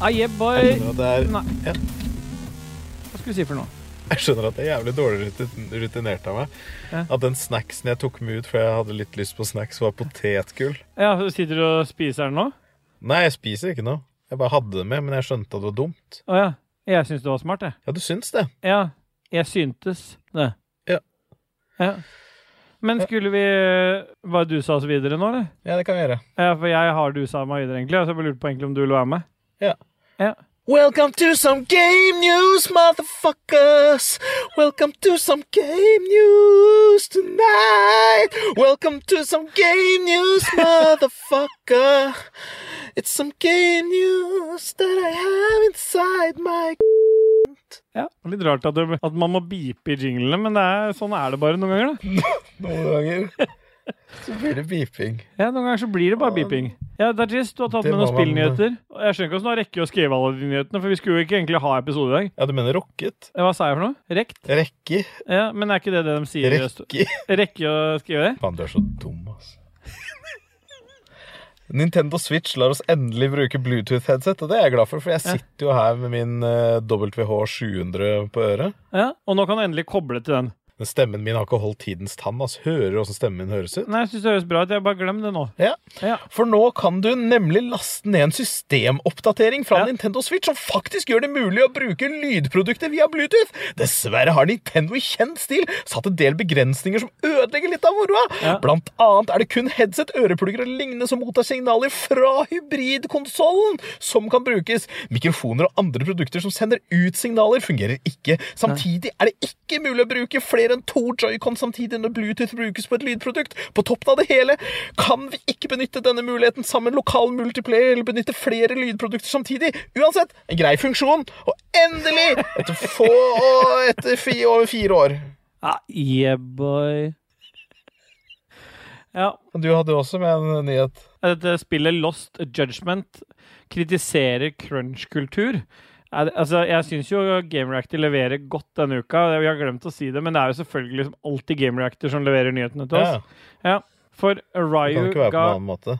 B: Ah, yeah, boy.
A: Jeg skjønner at det er-
B: Nei.
A: Ja.
B: Hva skulle vi si for noe?
A: Jeg skjønner at det er jævlig dårlig rutin- rutinert av meg.
B: Ja.
A: At den snacksen jeg tok med ut fordi jeg hadde litt lyst på snacks, var potetgull.
B: Ja, Sitter du og spiser den nå?
A: Nei, jeg spiser ikke noe. Jeg bare hadde det med, men jeg skjønte at det var dumt.
B: Å ja. Jeg syns det var smart, jeg.
A: Ja, du syns det?
B: Ja, jeg syntes det.
A: Ja.
B: Ja. Men skulle vi Hva du sa oss videre nå, eller?
A: Ja, det kan vi gjøre.
B: Ja, for jeg har du sa meg videre, egentlig. og Så jeg bare lurte på egentlig om du vil være med.
A: Welcome to some game news, motherfuckers! Welcome to some game news tonight! Welcome to some game news, motherfucker! It's some game news that I have inside my
B: Ja, Litt rart at, du, at man må beepe i jinglene, men det er, sånn er det bare noen ganger. da.
A: Noen ganger så blir det beeping.
B: Ja, Noen ganger så blir det bare beeping. Ja, Dajis, du har tatt
A: Det
B: med noen
A: må man-
B: spillnyheter. Og Jeg skjønner ikke hvordan du har rekke å skrive alle de nyhetene, for vi skulle jo ikke egentlig ha episode i dag.
A: Ja, du mener rokket?
B: Eh, Hva sa jeg for noe? Rekt?
A: Rekke?
B: Ja, Men er ikke det det de sier? i Øst-
A: Rekke?
B: Rekke å skrive?
A: Faen, du er så dum, altså. Nintendo Switch lar oss endelig bruke Bluetooth-headset, og det er jeg glad for, for jeg sitter jo her med min eh, WH700 på øret.
B: Ja, Og nå kan du endelig koble til den.
A: Men stemmen min har ikke holdt tidens tann, altså. Hører du åssen stemmen min høres ut?
B: Nei, jeg syns det høres bra ut. Jeg bare glem det nå.
A: Ja.
B: Ja.
A: For nå kan du nemlig laste ned en systemoppdatering fra
B: Ja.
A: Nintendo Switch som faktisk gjør det mulig å bruke lydprodukter via Bluetooth. Dessverre har Nintendo i kjent stil satt en del begrensninger som ødelegger litt av moroa.
B: Ja.
A: Blant annet er det kun headset, øreplugger og lignende som mottar signaler fra hybridkonsollen som kan brukes. Mikrofoner og andre produkter som sender ut signaler, fungerer ikke. Samtidig er det ikke mulig å bruke flere mer enn to joycon samtidig når Bluetooth brukes på et lydprodukt. På toppen av det hele kan vi ikke benytte denne muligheten sammen lokal multiplayer eller benytte flere lydprodukter samtidig. Uansett, en grei funksjon. Og endelig, etter få og etter fi, over fire år
B: Ah, yeah, boy. Ja,
A: Du hadde jo også med en nyhet.
B: Dette spillet Lost Judgment kritiserer crunch-kultur. Er det- Altså, jeg syns jo GameReactor leverer godt denne uka. Vi har glemt å si det, men det er jo selvfølgelig liksom alltid GameReactor som leverer nyhetene til oss. For Ryu ga
A: annen måte.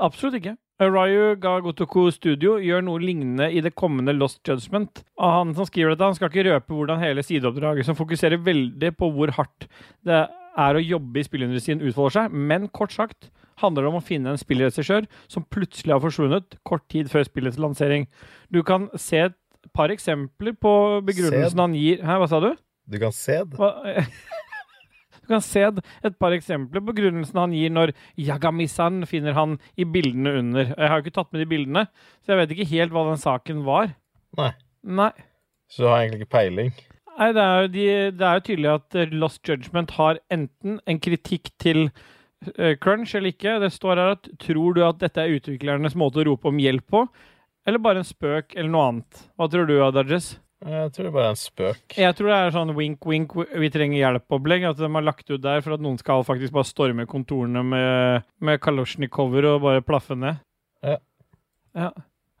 B: Absolutt ikke. Ryu ga Gotoku Studio gjør noe lignende i det kommende Lost Judgment. Og han som skriver dette, han skal ikke røpe hvordan hele sideoppdraget, som fokuserer veldig på hvor hardt det er å jobbe i spillindustrien, utfolder seg, men kort sagt handler det om å finne en spillregissør som plutselig har forsvunnet kort tid før spillets lansering. Du kan se et par eksempler
A: Sed.
B: på begrunnelsen han gir Hæ, hva sa du?
A: Du kan se det.
B: Hva? eh, Du kan se et par eksempler på begrunnelsen han gir når Yagami-san finner han i bildene under. Jeg har jo ikke tatt med de bildene, så jeg vet ikke helt hva den saken var.
A: Nei.
B: Nei.
A: Så du har egentlig ikke peiling.
B: Nei, det er, jo de, det er jo tydelig at eh, Lost Judgment har enten en kritikk til eh, crunch eller ikke. Det står her at tror du at dette er utviklernes måte å rope om hjelp på, eller bare en spøk eller noe annet? Hva tror du, Adages?
A: Jeg tror det bare er en spøk.
B: Jeg tror det er sånn wink, wink, vi trenger hjelp-opplegg. At de har lagt ut der for at noen skal faktisk bare storme kontorene med, med kalosjnikover og bare plaffe ned.
A: Ja.
B: Ja.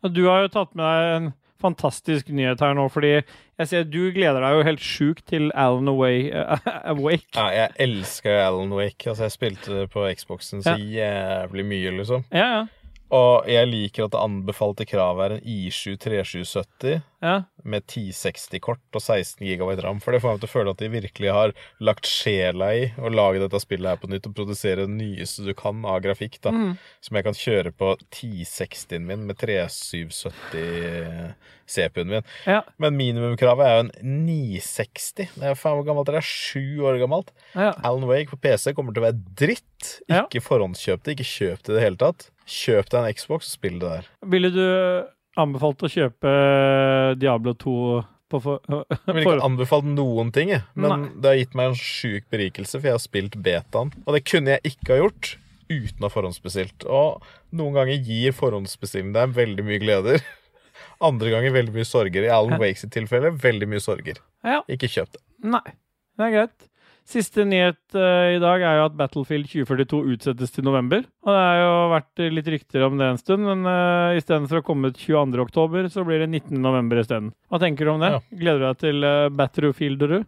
B: Og du har jo tatt med deg en fantastisk nyhet her nå, fordi jeg ser du gleder deg jo helt sjukt til Alan Away, Awake.
A: Ja, jeg elsker jo Alan Wake. Altså, jeg spilte det på Xboxen så jævlig mye, liksom.
B: Ja, ja.
A: Og jeg liker at det anbefalte kravet er en I7 3770
B: ja.
A: med 1060-kort og 16 GB ram. For det får meg til å føle at de virkelig har lagt sjela i å lage dette spillet her på nytt og produsere det nyeste du kan av grafikk, da. Som jeg kan kjøre på 1060-en min med 3770 CPU-en min.
B: ja.
A: Men minimumkravet er jo en 960. Det er jo faen hvor gammelt det er. Sju år gammelt.
B: ja.
A: Alan Wake på PC kommer til å være dritt.
B: Ja.
A: Ikke forhåndskjøp det. Ikke kjøp det i det hele tatt. Kjøp deg en Xbox og spill det der.
B: Ville du eh, anbefalt å kjøpe eh, Diablo 2 på for...
A: Jeg ville
B: for-
A: ikke anbefalt noen ting, jeg. men
B: Nei.
A: det har gitt meg en sjuk berikelse, for jeg har spilt betaen. Og det kunne jeg ikke ha gjort uten å ha forhåndsbestilt. Og noen ganger gir forhåndsbestilling deg veldig mye gleder. Andre ganger veldig mye sorger. I Alan Wakes sitt tilfelle veldig mye sorger.
B: Ja.
A: Ikke kjøp det.
B: Nei, det er greit. Siste nyhet eh, i dag er jo at Battlefield 2042 utsettes til november. Og det har jo vært eh, litt rykter om det en stund, men uh, istedenfor å komme ut 22. oktober, så blir det 19. november isteden. Hva tenker du om det?
A: Ja.
B: Gleder du deg til uh, Battlefield, du?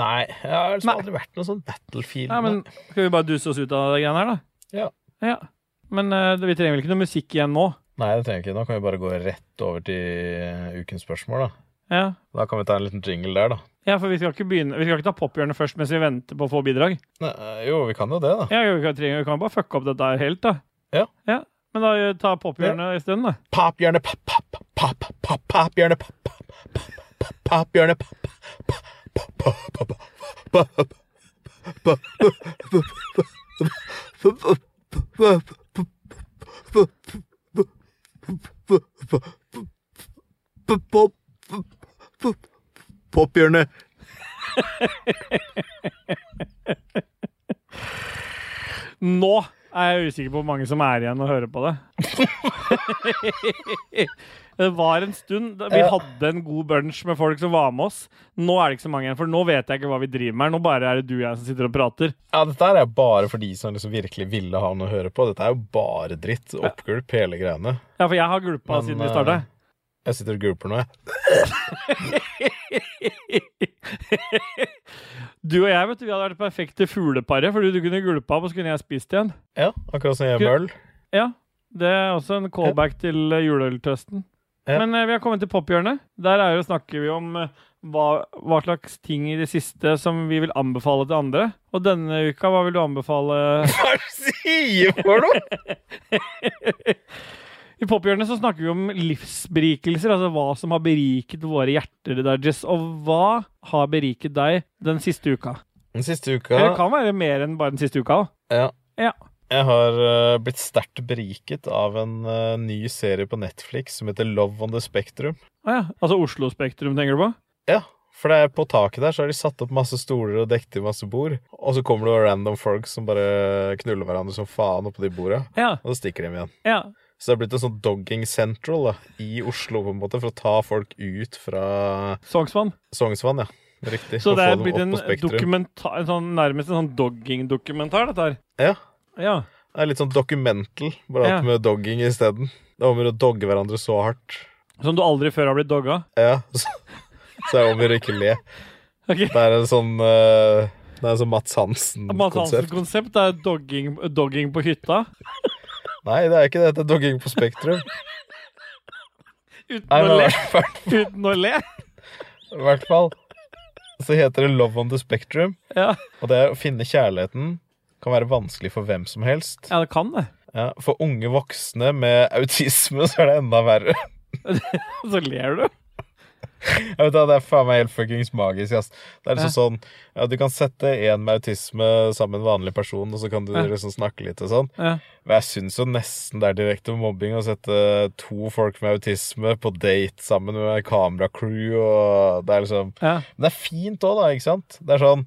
A: Nei, jeg har liksom
B: Nei.
A: aldri vært noe sånn battlefield.
B: Nei, men skal vi bare duse oss ut av de greiene her, da?
A: Ja.
B: ja. Men eh, vi trenger vel ikke noe musikk igjen nå?
A: Nei, det trenger vi ikke. Nå kan vi bare gå rett over til eh, ukens spørsmål. Da
B: Ja.
A: Da kan vi ta en liten jingle der, da.
B: ja, for vi skal ikke begynne Vi skal ikke ta pophjørnet først mens vi venter på å få bidrag.
A: Nei, jo, vi kan jo det, da.
B: Ja, vi kan, vi kan bare fucke opp dette her helt, da.
A: Ja.
B: ja. Men da eh, ta pophjørnet isteden, da.
A: Paphjørnet, pap, pap, pap, pap, paphjørnet, pap, pap, pap, pap, paphjørnet, pap, pap, pap, pap, pap, pap, pap, pap, pap, pap, Pophjørnet.
B: Nå er jeg usikker på hvor mange som er igjen og hører på det. det var en stund. Vi
A: Ja.
B: hadde en god bunch med folk som var med oss. Nå er det ikke så mange igjen, for nå vet jeg ikke hva vi driver med. her. Nå bare er det du og jeg som sitter og prater.
A: Ja, dette her er bare for de som liksom virkelig ville ha noe å høre på. Dette er jo bare dritt. Oppgulp hele greiene.
B: Ja, for jeg har gulpa
A: Men,
B: siden vi starta.
A: eh, Jeg sitter og gulper nå, jeg.
B: Du og jeg vet du, vi hadde vært det perfekte fugleparet, fordi du kunne gulpa opp, og så kunne jeg spist igjen.
A: Ja, akkurat som jeg gjør med øl.
B: Ja, det er også en callback til eh, juleøltøsten.
A: Ja.
B: Men eh, vi har kommet til pophjørnet. Der er jo, snakker vi om eh, hva, hva slags ting i det siste som vi vil anbefale til andre. Og denne uka, hva vil du anbefale?
A: Hva er det du sier for noe?!
B: I pophjørnet så snakker vi om livsberikelser, altså hva som har beriket våre hjerter. Der, Jess. Og hva har beriket deg den siste uka?
A: Den siste
B: Eller det
A: uka
B: kan være mer enn bare den siste uka. også.
A: ja,
B: Ja.
A: Jeg har eh, blitt sterkt beriket av en eh, ny serie på Netflix som heter Love on the Spectrum.
B: Ah, Å ja. Altså Oslo Spektrum, tenker du på?
A: Ja, For det er på taket der så har de satt opp masse stoler og dekket til masse bord. Og så kommer det noen random folk som bare knuller hverandre som faen oppå de borda.
B: Ja,
A: Og så stikker de igjen.
B: ja.
A: Så det er blitt en sånn dogging central da, i Oslo, på en måte, for å ta folk ut fra
B: Sognsvann.
A: Sognsvann, ja. Riktig.
B: Så
A: og
B: det
A: få
B: er
A: dem
B: blitt
A: opp
B: en,
A: på Spektrum.
B: dokumenta- en sånn, nærmest en sånn dogging-dokumentar, dette her.
A: Ja.
B: Ja.
A: Det er litt sånn documental, bare
B: Ja.
A: at med dogging isteden. Det er om å gjøre å dogge hverandre så hardt.
B: Som du aldri før har blitt dogga.
A: Ja, så, så er det om å gjøre å ikke le.
B: Ok.
A: Det er en sånn eh, Det er en sånn Mats
B: Mads
A: Hansen-konsept.
B: Hansen-konsept er dogging, dogging på hytta.
A: Nei, det er ikke det. Det er dogging på Spektrum.
B: Uten
A: Nei,
B: å
A: men i
B: le.
A: hvert fall-
B: Uten å le.
A: i hvert fall så heter det Love on the Spectrum.
B: Ja.
A: Og det å finne kjærligheten kan være vanskelig for hvem som helst.
B: ja, det kan det.
A: Ja, for unge voksne med autisme så er det enda verre.
B: Så ler du.
A: Jeg vet da, Det er faen meg helt fuckings magisk. Ass. Det er liksom sånn ja, Du kan sette en med autisme sammen med en vanlig person, og så kan du
B: Ja.
A: liksom snakke litt og sånn.
B: Ja.
A: Men jeg syns jo nesten det er direkte mobbing å sette to folk med autisme på date sammen med kameracrew, og det er liksom
B: Ja.
A: Men det er fint òg, da, ikke sant? Det er sånn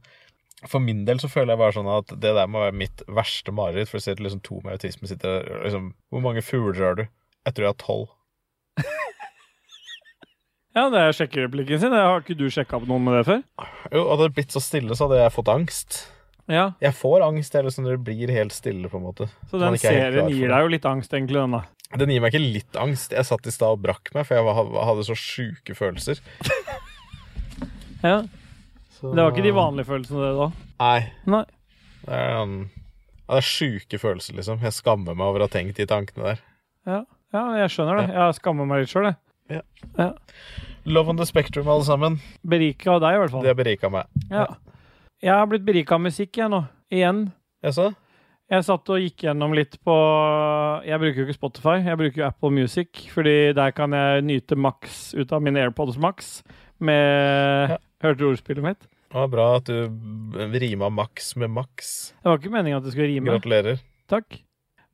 A: for min del så føler jeg bare sånn at det der må være mitt verste mareritt. For å se at liksom to med autisme sitter der og liksom Hvor mange fugler har du? Jeg tror jeg har tolv.
B: ja, det er sjekkereplikken sin. Har ikke du sjekka opp noen med det før?
A: Jo, hadde det blitt så stille, så hadde jeg fått angst.
B: Ja,
A: Jeg får angst jeg, liksom, når det blir helt stille, på en måte.
B: Så
A: Man
B: den
A: ikke er helt klar
B: serien
A: for
B: gir
A: det.
B: deg jo litt angst, egentlig, den da.
A: Den gir meg ikke litt angst. Jeg satt i stad og brakk meg, for jeg var- hadde så sjuke følelser.
B: Ja.
A: Så-
B: Det var ikke de vanlige følelsene, det da.
A: Nei.
B: Nei.
A: Det er, um, ja, det er sjuke følelser, liksom. Jeg skammer meg over å ha tenkt de tankene der.
B: Ja, ja jeg skjønner det. Jeg skammer meg litt sjøl, jeg.
A: Love on the spectrum, alle sammen.
B: Berika av deg, i hvert fall.
A: Det berika meg.
B: Ja. Jeg har blitt berika av musikk, jeg nå. Igjen.
A: Jaså?
B: Jeg satt og gikk gjennom litt på Jeg bruker jo ikke Spotify, jeg bruker jo Apple Music, fordi der kan jeg nyte maks ut av mine AirPods Max med
A: Ja.
B: Hørte du ordspillet mitt?
A: Det var bra at du rima Max med Max.
B: Det var ikke meningen at det skulle rime.
A: Gratulerer.
B: Takk.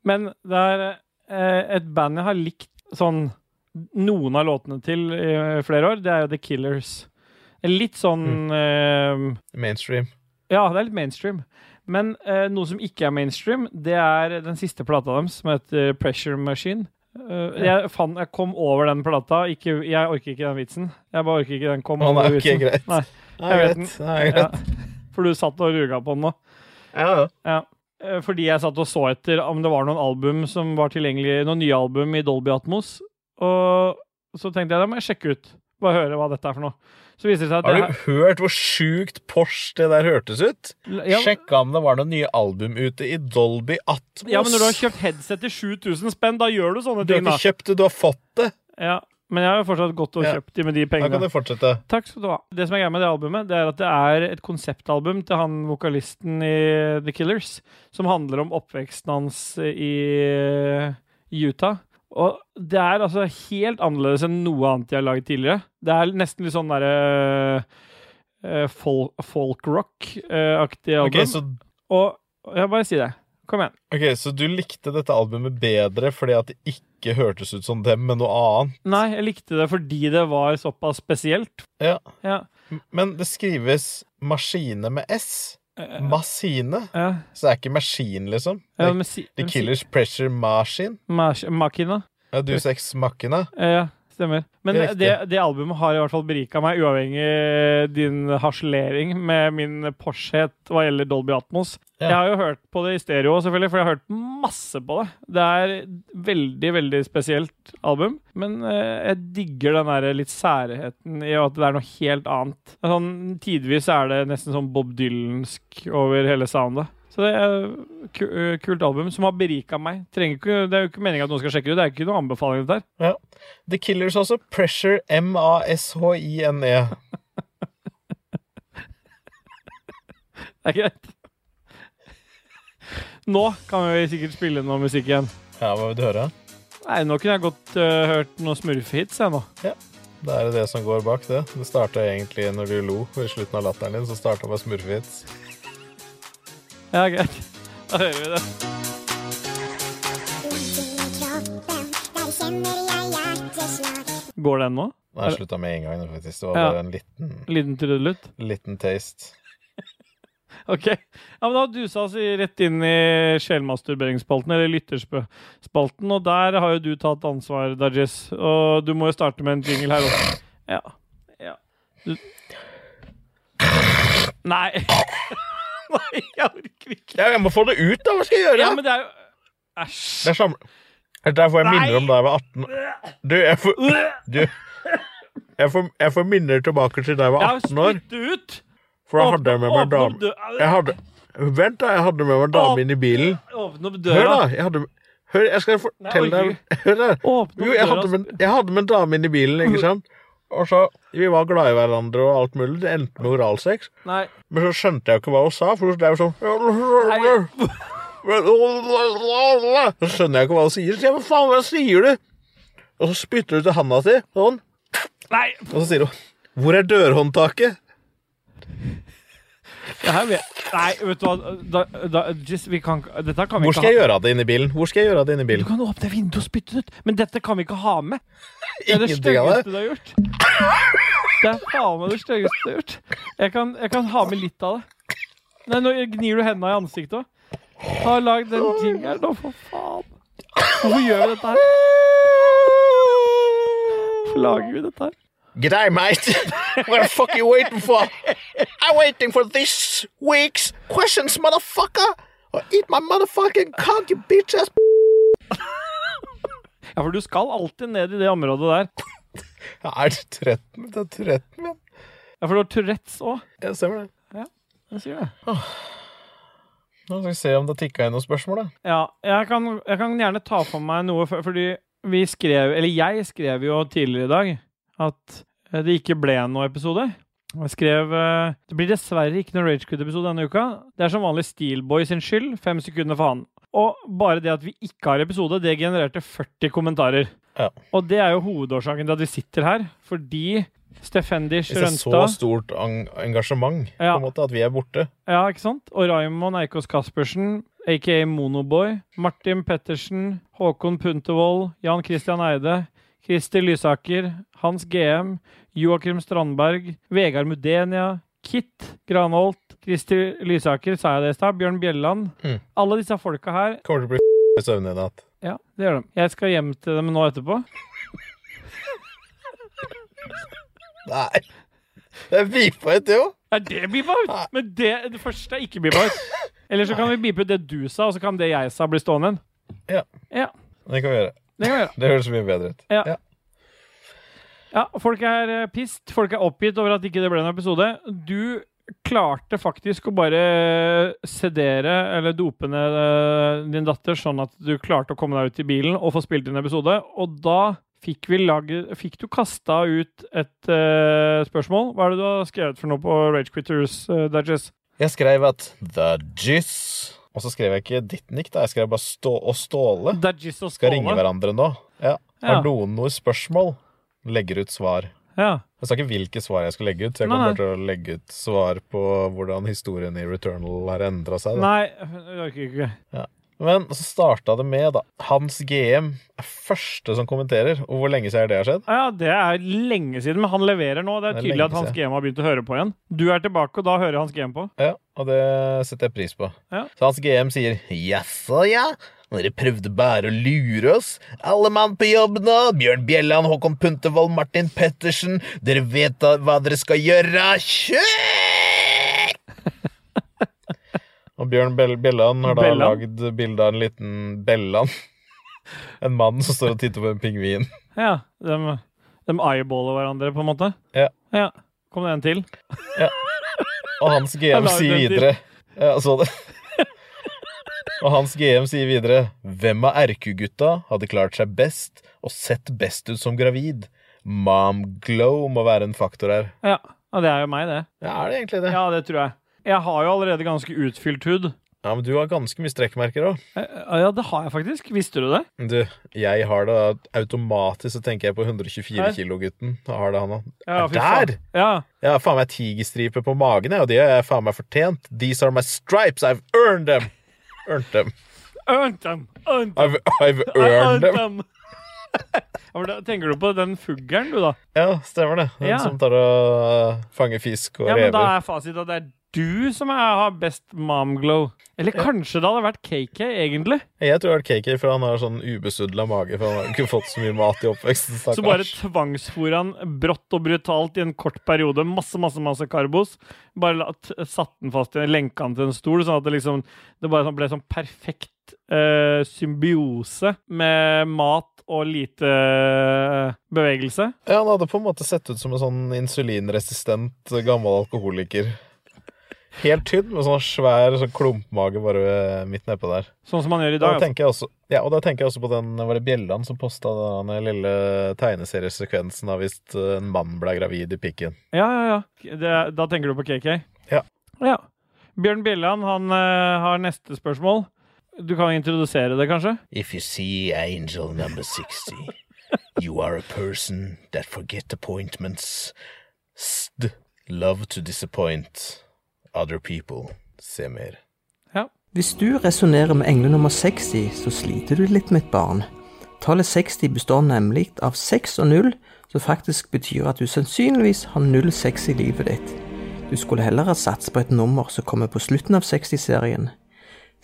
B: Men det er eh, et band jeg har likt sånn noen av låtene til i flere år. Det er jo The Killers. Litt sånn eh,
A: Mainstream.
B: Ja, det er litt mainstream. Men eh, noe som ikke er mainstream, det er den siste plata deres, som heter Pressure Machine. Eh, jeg, fant, jeg kom over den plata. Ikke, jeg orker ikke den vitsen. Jeg bare orker ikke den kom
A: Å, nei,
B: over
A: ok, greit.
B: Nei,
A: Nei,
B: jeg vet
A: greit. Nei, greit.
B: ja. For du satt og ruga på den nå.
A: Ja, ja.
B: Ja. Eh, Fordi jeg satt og så etter om det var noen album som var tilgjengelig, noen nye album i Dolby Atmos. Og så tenkte jeg det må jeg sjekke ut. Bare høre hva dette er for noe. Så viser det seg at
A: Har
B: det
A: du hørt hvor sjukt Porsche det der hørtes ut?
B: her- ja,
A: Sjekka om det var noen nye album ute i Dolby Atmos.
B: ja, men når du har kjøpt headset til 7000 spenn, da gjør du sånne
A: Du har
B: ting, da.
A: ikke kjøpt det, du har fått det.
B: Ja, men jeg har jo fortsatt gått og
A: Ja.
B: kjøpt de med de
A: Da kan
B: pengene.
A: du fortsette.
B: Takk skal du ha. Det som er greia med det albumet, det er at det er et konseptalbum til han vokalisten i The Killers, som handler om oppveksten hans i i Utah. Og det er altså helt annerledes enn noe annet jeg har laget tidligere. Det er nesten litt sånn derre eh, fol folk-rock-aktig
A: Ok,
B: album.
A: så,
B: Og jeg bare sier det. Kom igjen.
A: ok, så du likte dette albumet bedre fordi at det ikke hørtes ut som dem, men noe annet.
B: Nei, jeg likte det fordi det var såpass spesielt.
A: Ja.
B: Ja.
A: Men det skrives maskine med S.
B: Eh,
A: Maskine.
B: ja.
A: Så det er ikke maskin, liksom. Det
B: Ja,
A: er
B: men si-
A: The
B: men si-
A: Killers Pressure Machine.
B: Mas- Makina.
A: Ja, du sex makkina.
B: Eh, Ja, stemmer. Men
A: Det er riktig.
B: det, det albumet har i hvert fall berika meg, uavhengig din harselering med min Porsche-het hva gjelder Dolby Atmos.
A: Ja.
B: Jeg har jo hørt på det i stereo, selvfølgelig, for jeg har hørt masse på det. Det er veldig, veldig spesielt album, men eh, jeg digger den der litt særheten i at det er noe helt annet. Det er Sånn, tidvis er det nesten sånn Bob Dylansk over hele soundet. Så det er ku- eh, kult album som har berika meg. Trenger ikke, det er jo ikke meninga at noen skal sjekke det ut. Det er ikke noen anbefaling. dette her.
A: Ja. The Killers også. Pressure M-A-S-H-I-N-E.
B: Det er greit. Nå kan vi sikkert spille noe musikk igjen.
A: Ja, hva vil du høre?
B: Nei, nå kunne jeg godt eh, hørt noen smurfehits, jeg nå.
A: Da er det det som går bak det. Det starta egentlig når du lo i slutten av latteren din. Så starta med smurfehits.
B: Ja, greit. Da hører vi det.
C: Ute i kroppen, der kjenner jeg hjerteslag.
B: Går den nå?
A: Nå har jeg slutta med en gang, nå, faktisk. Det var
B: Ja.
A: bare en liten,
B: Liten trudelutt.
A: liten taste.
B: Ok. Ja, men da dusa oss i- rett inn i sjelmasturberingsspalten, eller lytterspalten, og der har jo du tatt ansvar, Dajis. Og du må jo starte med en jingle her også. Ja. ja. Du... Nei. Nei, jeg orker ikke.
A: Ja, jeg må få det ut, da! Hva skal jeg gjøre?
B: Ja, men det er jo Æsj.
A: Det er samme Det er derfor jeg
B: Nei!
A: minner om da jeg var 18 Du, jeg får Du jeg får, jeg får minner tilbake til da jeg var
B: Ja,
A: 18 år,
B: spytt ut!
A: for da hadde jeg med meg en
B: Åpne opp
A: dame
B: dø-
A: jeg hadde, Vent, da. Jeg hadde med meg en dame inn i bilen.
B: Åpne opp
A: Hør,
B: døra.
A: da! Jeg hadde Hør, jeg skal fortelle
B: Nei,
A: deg Hør, da.
B: Åpne
A: Jo,
B: opp
A: jeg
B: døra. altså.
A: hadde, med, jeg hadde med en dame inn i bilen, ikke sant? Og så, Vi var glad i hverandre og alt mulig. Det endte med oralsex.
B: Nei.
A: Men så skjønte jeg jo ikke hva hun sa, for det er jo sånn Så skjønner jeg ikke hva hun sier. Så jeg, hva faen, hva sier du? Og så spytter hun til handa si, sånn.
B: Nei.
A: Og så sier hun, hvor er dørhåndtaket?
B: Det her vet Nei, vet du hva da, da, just, vi kan, ikke- Dette kan vi
A: Hvor
B: ikke
A: skal
B: ha
A: jeg gjøre av det inne i bilen? Hvor skal jeg gjøre av det inne i
B: Du
A: bilen?
B: kan åpne vinduet og spytte det ut, men dette kan vi ikke ha med. Det er det
A: Ingenting av
B: styggeste
A: det.
B: du har gjort. Det er faen meg det styggeste du har gjort. Jeg kan, jeg kan ha med litt av det. Nei, nå gnir du henda i ansiktet òg. Ta og lag den jingeren nå, for faen. Hvorfor gjør vi dette her? Hvorfor lager vi dette her?
A: G'day, mate. What the fuck are you waiting for? I'm waiting for this week's questions, motherfucker. Or eat my motherfucking cock, you bitch ass.
B: Ja, for du skal alltid ned i det området der.
A: Jeg er trett, men det er trett, men.
B: Ja, for du har Tourettes òg.
A: Jeg stemmer det.
B: Jeg sier det.
A: Nå skal vi se om det tikka inn noen spørsmål, da.
B: Ja, jeg kan, jeg kan gjerne ta for meg noe, for, fordi vi skrev, eller jeg skrev jo tidligere i dag, at eh, det ikke ble noen episode. Og Jeg skrev eh, Det blir dessverre ikke noen Ragequid-episode denne uka. Det er som vanlig Steelboy sin skyld. Fem sekunder for han. Og bare det at vi ikke har episode, det genererte 40 kommentarer.
A: Ja.
B: Og det er jo hovedårsaken til at vi sitter her, fordi Stefendi
A: Hvis det er så
B: Rønstad
A: stort en- engasjement,
B: Ja.
A: på en måte, at vi er borte
B: Ja, ikke sant? Og Raymond Eikås Kaspersen, aka Monoboy, Martin Pettersen, Håkon Puntervold, Jan Christian Eide, Krister Lysaker, Hans GM, Joakim Strandberg, Vegard Mudenia, Kit Granholt, Krister Lysaker, sa jeg det i stad, Bjørn Bjelland.
A: Mm.
B: Alle disse folka her
A: Kommer til å bli f*** i søvne i natt.
B: ja, det gjør de. Jeg skal hjem til dem nå etterpå.
A: Nei. Det er beepa ut, det jo.
B: Er det beepa ut? Men det, det første er ikke beepa ut. Eller så kan vi beepe ut det du sa, og så kan det jeg sa, bli stående igjen.
A: Ja.
B: Ja,
A: Det kan vi gjøre.
B: det kan vi gjøre.
A: Det høres mye bedre ut.
B: Ja. Ja, folk er eh, pissed. Folk er oppgitt over at ikke det ble en episode. Du klarte faktisk å bare sedere eller dope ned eh, din datter, sånn at du klarte å komme deg ut i bilen og få spilt inn en episode. Og da fikk, vi lage, fikk du kasta ut et eh, spørsmål. Hva er det du har skrevet for noe på Rage Quitters, uh, Dudges?
A: Jeg skrev at The Jizz Og så skrev jeg ikke ditt nick, da. Jeg skrev bare stå og Ståle.
B: Dudges og
A: Skal ringe
B: Skåle.
A: hverandre nå. Ja.
B: Ja.
A: Har noen noe spørsmål, legger ut svar.
B: Ja.
A: Jeg sa ikke hvilke svar jeg skulle legge ut. Så jeg
B: Nei,
A: kommer
B: nei.
A: til å legge ut svar på hvordan historien i Returnal har endra seg. Da.
B: Nei, jeg orker ikke.
A: Men så starta det med, da. Hans GM er første som kommenterer. Og hvor lenge siden er det har skjedd?
B: Ja, Det er lenge siden, men han leverer nå. Det er
A: Det er
B: tydelig
A: lenge
B: at Hans
A: siden.
B: GM har begynt å høre på igjen. Du er tilbake, og da hører Hans GM på.
A: Ja, Og det setter jeg pris på.
B: Ja.
A: Så hans GM sier jaså, ja. Dere prøvde bare å lure oss. Alle mann på jobb nå. Bjørn Bjelland, Håkon Puntervold, Martin Pettersen. Dere vet da hva dere skal gjøre. Kjør! Og Bjørn Bell Bjelland har da
B: Belland?
A: lagd bilde av en liten Belland. En mann som står og titter på en pingvin.
B: Ja, de, de eyeballer hverandre, på en måte.
A: Ja.
B: Kom det en til?
A: Og hans
B: Jeg
A: GM
B: la ut
A: sier
B: den til.
A: videre Ja, jeg så det. Og hans GM sier videre Hvem av RQ-gutta hadde klart seg best og sett best ut som gravid? Mom glow må være en faktor her.
B: Ja. ja, det er jo meg, det.
A: Ja, er det egentlig det? Ja,
B: Ja, det tror jeg. Jeg har jo allerede ganske utfylt hud.
A: men du har ganske mye strekkmerker òg.
B: Eh, Ja, det har jeg faktisk. Visste du det?
A: Du, jeg har det automatisk, så tenker jeg på 124
B: Her?
A: kilo-gutten. Har det han òg.
B: Ja,
A: Er
B: fy faen.
A: der?
B: Ja.
A: Jeg har faen meg tigerstriper på magen, jeg, og de har jeg faen meg fortjent. These are my stripes, I've earned them! Earned them.
B: Earned them! Earned them!
A: I've, I've
B: I
A: earned them.
B: them! Ja, men da Tenker du på den fuglen, du, da?
A: Ja, stemmer det. Den
B: Ja.
A: som tar og eh, fanger fisk og
B: Ja, men da
A: rever.
B: er fasit at det er du som er, har best momglow. Eller kanskje det hadde vært KK, egentlig.
A: Jeg tror det er KK, for han har sånn ubesudla mage. For han har ikke fått så mye mat i oppveksten.
B: Så bare
A: Stakkars.
B: tvangsfôra han brått og brutalt i en kort periode. Masse, masse masse karbos. Bare la- t- satte han fast i en lenka han til en stol, sånn at det liksom Det bare sånn ble sånn perfekt eh, symbiose med mat og lite eh, bevegelse.
A: Ja, han hadde på en måte sett ut som en sånn insulinresistent eh, gammel alkoholiker. Helt tynn, med sånn svær sånn klumpmage bare ved- midt nedpå der.
B: Sånn som man gjør i
A: Da
B: dag. Altså.
A: tenker jeg også, ja, og da tenker jeg også på den Var det Bjelland som posta den eh, lille tegneseriesekvensen av hvis eh, en mann ble gravid i pikken?
B: altså. Ja, ja, ja. Det, da tenker du på KK?
A: Ja.
B: ja. Bjørn Bjelland han eh, har neste spørsmål. Du kan introdusere det, kanskje?
A: If you see angel number 60, you are a person that forget appointments, st, love to disappoint other people. Se mer.
C: Hvis du resonnerer med engle nummer 60, så sliter du litt med et barn. Tallet 60 består nemlig av 6 og 0, som faktisk betyr at du sannsynligvis har 06 i livet ditt. Du skulle heller ha satset på et nummer som kommer på slutten av 60-serien.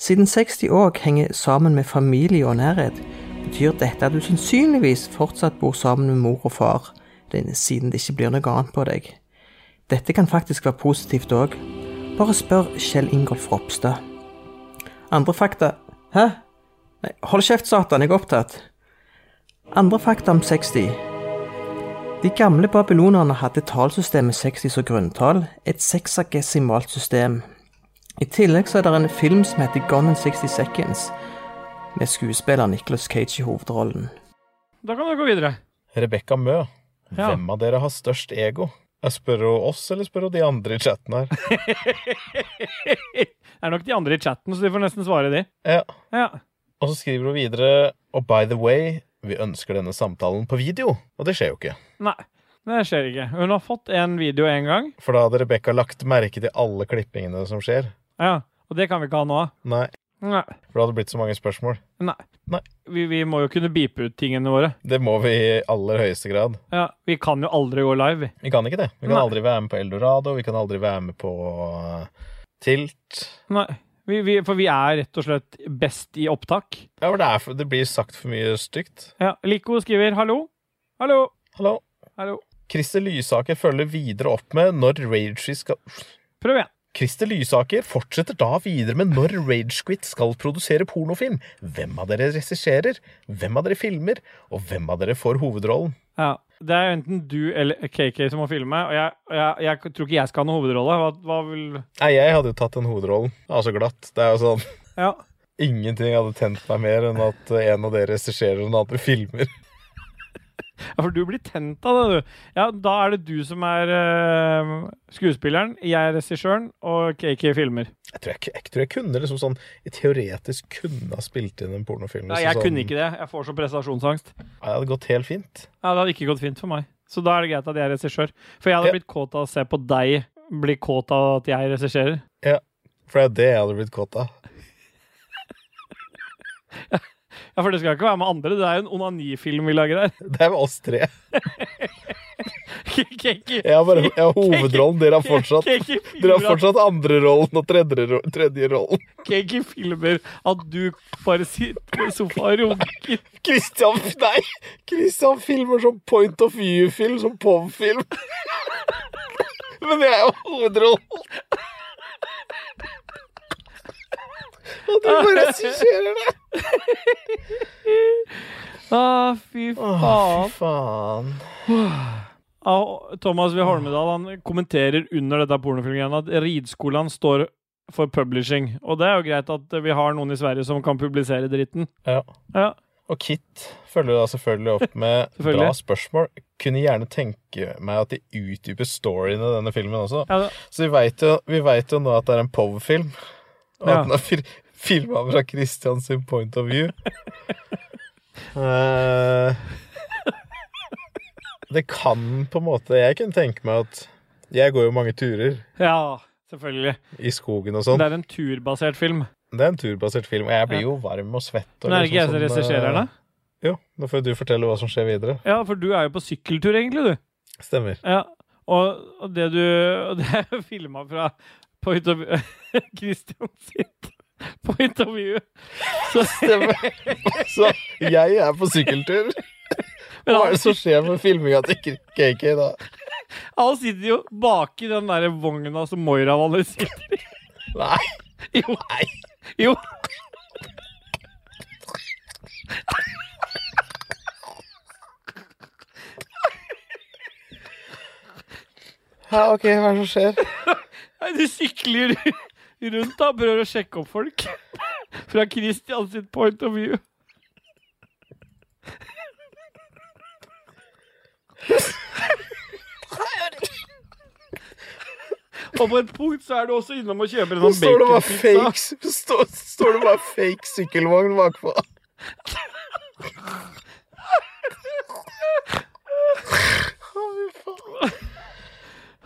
C: Siden 60 òg henger sammen med familie og nærhet, betyr dette at du sannsynligvis fortsatt bor sammen med mor og far, det- siden det ikke blir noe annet på deg. Dette kan faktisk være positivt òg. Bare spør Kjell Ingolf Ropstad. Andre fakta Hæ? Nei, hold kjeft, satan, jeg er opptatt. Andre fakta om 60. De gamle babylonerne hadde tallsystemet 60 som grunntall, et seksagesimalt system. I tillegg så er det en film som heter Gone in 60 Seconds, med skuespiller Nicholas Cage i hovedrollen.
B: Da kan du gå videre.
A: Rebekka Mø,
B: Ja.
A: hvem av dere har størst ego? Jeg spør hun oss, eller spør hun de andre i chatten her?
B: Det er nok de andre i chatten, så de får nesten svare de.
A: Ja.
B: Ja.
A: Og så skriver hun videre Og by the way, vi ønsker denne samtalen på video. Og det skjer jo ikke.
B: Nei, det skjer ikke. Hun har fått en video en gang,
A: For da hadde Rebekka lagt merke til alle klippingene som skjer.
B: ja. og det kan vi ikke ha nå.
A: Nei,
B: Nei.
A: for det hadde blitt så mange spørsmål.
B: Nei.
A: Nei.
B: Vi, vi må jo kunne beepe ut tingene våre.
A: Det må vi i aller høyeste grad.
B: Ja, vi kan jo aldri gå live. vi.
A: Vi kan ikke det. Vi kan
B: Nei.
A: aldri være med på Eldorado, vi kan aldri være med på eh, Tilt.
B: Nei. Vi, vi, for vi er rett og slett best i opptak.
A: Ja, for det, er for det blir sagt for mye stygt.
B: Ja, Lico skriver 'hallo'. Hallo.
A: Hallo.
B: Hallo.
A: Christer Lysaker følger videre opp med når Ragequit skal
B: Prøv igjen.
A: Christer Lysaker fortsetter da videre med når Ragequit skal produsere pornofilm. Hvem av dere regisserer? Hvem av dere filmer? Og hvem av dere får hovedrollen?
B: Ja. Det er enten du eller KK som må filme, og jeg, og jeg, jeg tror ikke jeg skal ha noen hovedrolle. Hva, hva vil
A: Nei, jeg hadde jo tatt den hovedrollen. Altså glatt. Det er jo sånn
B: Ja.
A: Ingenting hadde tent meg mer enn at en av dere regisserer og den andre filmer.
B: Ja, for du blir tent av det, du. Ja, da er det du som er eh, skuespilleren, jeg er regissøren, og KK filmer.
A: Jeg tror jeg, jeg tror jeg kunne liksom sånn Jeg teoretisk kunne ha spilt inn en pornofilm. liksom sånn,
B: Nei, jeg kunne ikke det. Jeg får så prestasjonsangst. Ja,
A: Det hadde gått helt fint.
B: Det hadde ikke gått fint for meg. Så da er det greit at jeg er regissør. For jeg hadde
A: Ja.
B: blitt kåt av å se på deg bli kåt av at jeg regisserer.
A: For det er det jeg hadde blitt kåt av.
B: Ja, for det skal ikke være med andre. Det er jo en onanifilm vi lager her.
A: Det er med oss tre.
B: KK
A: Jeg har, bare, jeg har hovedrollen, dere har fortsatt
B: KK
A: Dere har
B: filmer at-
A: fortsatt andre rollen og tredje, ro- tredje rollen.
B: KK filmer at du bare sitter i sofaen og runker.
A: Christian, nei, Christian filmer som point of view-film, som POV-film. Men jeg er jo hovedrollen. Og du bare regisserer det.
B: Å, fy faen.
A: faen.
B: Ja, Thomas V. Holmedal han kommenterer under dette pornofilmgreiene at ridskolene står for publishing. Og det er jo greit at vi har noen i Sverige som kan publisere dritten.
A: Ja.
B: Ja,
A: Og Kit følger da selvfølgelig opp med
B: Selvfølgelig.
A: bra spørsmål. Kunne gjerne tenke meg at de utdyper storyen i denne filmen også.
B: ja,
A: Så vi veit jo, vi vet jo nå at det er en POV-film. Og
B: Ja.
A: at den er fil filma fra Christian sin point of view. Eh, det kan på en måte Jeg kunne tenke meg at Jeg går jo mange turer
B: ja selvfølgelig.
A: i skogen og
B: Det
A: sånn.
B: er en turbasert film.
A: Det er en turbasert film, og jeg blir jo varm og svett. Og
B: Men er det ikke jeg som
A: liksom sånn, eh,
B: regisserer det?
A: Jo, nå får du fortelle hva som skjer videre.
B: Ja, for du er jo på sykkeltur, egentlig, du.
A: Stemmer.
B: Ja, og, og det du og Det er filma fra på hytta Christian sitt på intervju. Så,
A: Stemmer. Så jeg er på sykkeltur. Hva er det som skjer med filminga til KK da?
B: han sitter jo baki den der vogna som Moira vanligvis sitter i.
A: Nei.
B: Jo. jo.
A: Ja, ok, hva er det som skjer?
B: Nei, du sykler rundt da, prøver å sjekke opp folk. Fra Christian sitt point of view. Og på et punkt så er du også innom og kjøper
A: Nå
B: en sånn
A: står det bare
B: baconpizza.
A: fake, står, står det bare fake sykkelvogn bakpå.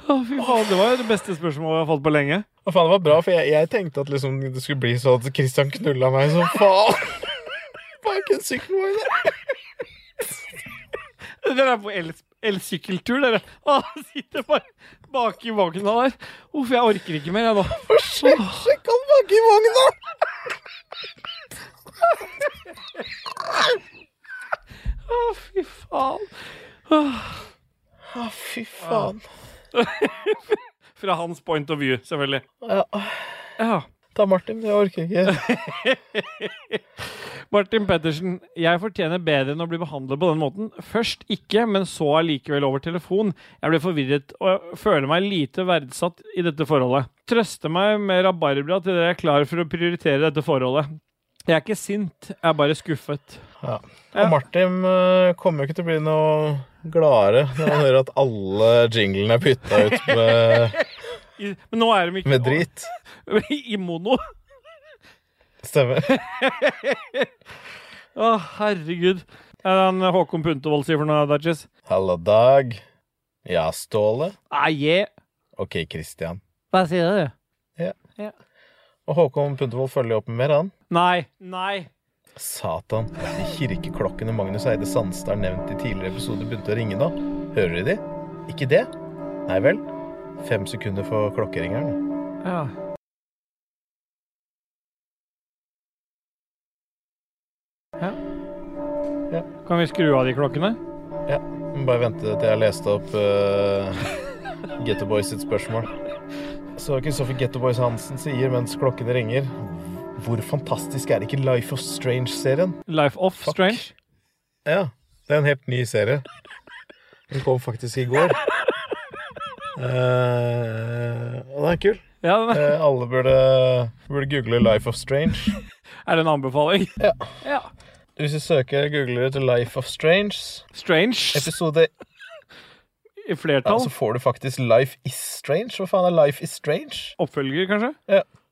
B: Å, fy faen, det var jo det beste spørsmålet jeg har fått på lenge.
A: Å, faen, det var bra, for jeg, jeg tenkte at liksom, det skulle bli sånn at Christian knulla meg som faen. Bak en sykkelvogn. der.
B: Dere er på el- elsykkeltur, dere. Å, sitter bare bak i vogna der. Uff, jeg orker ikke mer, jeg nå.
A: Hva skjer? Sjekk han bak i vogna!
B: Å, fy faen.
A: Å, fy faen.
B: Fra hans point of view, selvfølgelig.
A: Ja.
B: Ja.
A: Ta Martin, jeg orker ikke.
B: Martin Pettersen, jeg fortjener bedre enn å bli behandlet på den måten. Først ikke, men så allikevel over telefon. Jeg ble forvirret, og jeg føler meg lite verdsatt i dette forholdet. Trøste meg med rabarbra til dere er klar for å prioritere dette forholdet. Jeg er ikke sint, jeg er bare skuffet.
A: Ja.
B: Ja.
A: Og Martin eh, kommer jo ikke til å bli noe gladere når han hører at alle jinglene er bytta ut med,
B: I, men nå er de ikke
A: med drit.
B: I mono.
A: Stemmer.
B: Å, herregud. Det er den Håkon Puntervold sier for noe, Dajis.
A: Halla, Dag. Ja, Ståle.
B: Nei, yeah.
A: Ok, Christian.
B: Hva sier du?
A: Og Håkon Puntervold følger jo opp med mer, han.
B: Nei. Nei.
A: Satan. Kirkeklokkene Magnus Eide Sandstad har nevnt i tidligere episoder, begynte å ringe nå. Hører de de? Ikke det? Nei vel. Fem sekunder for klokkeringeren.
B: Ja. Ja.
A: Ja.
B: Kan vi skru av de klokkene?
A: Må Bare vente til jeg har lest opp eh, Getto Boys sitt spørsmål. Så Kristoffer Getto Boys Hansen sier mens klokkene ringer Hvor fantastisk er ikke Life of Strange-serien?
B: Life off
A: Fuck.
B: strange.
A: Ja, det er en helt ny serie. Den kom faktisk i går. Eh, og den er kul.
B: Ja, den er-
A: Eh, alle burde, burde google Life of Strange.
B: er det en anbefaling?
A: Ja.
B: ja.
A: Hvis du søker googler etter Life of Strange,
B: Strange
A: episode
B: i
A: ja, altså-
B: flertall.
A: Så får du faktisk Life is Strange. Hva faen er Life is Strange?
B: Oppfølger, kanskje?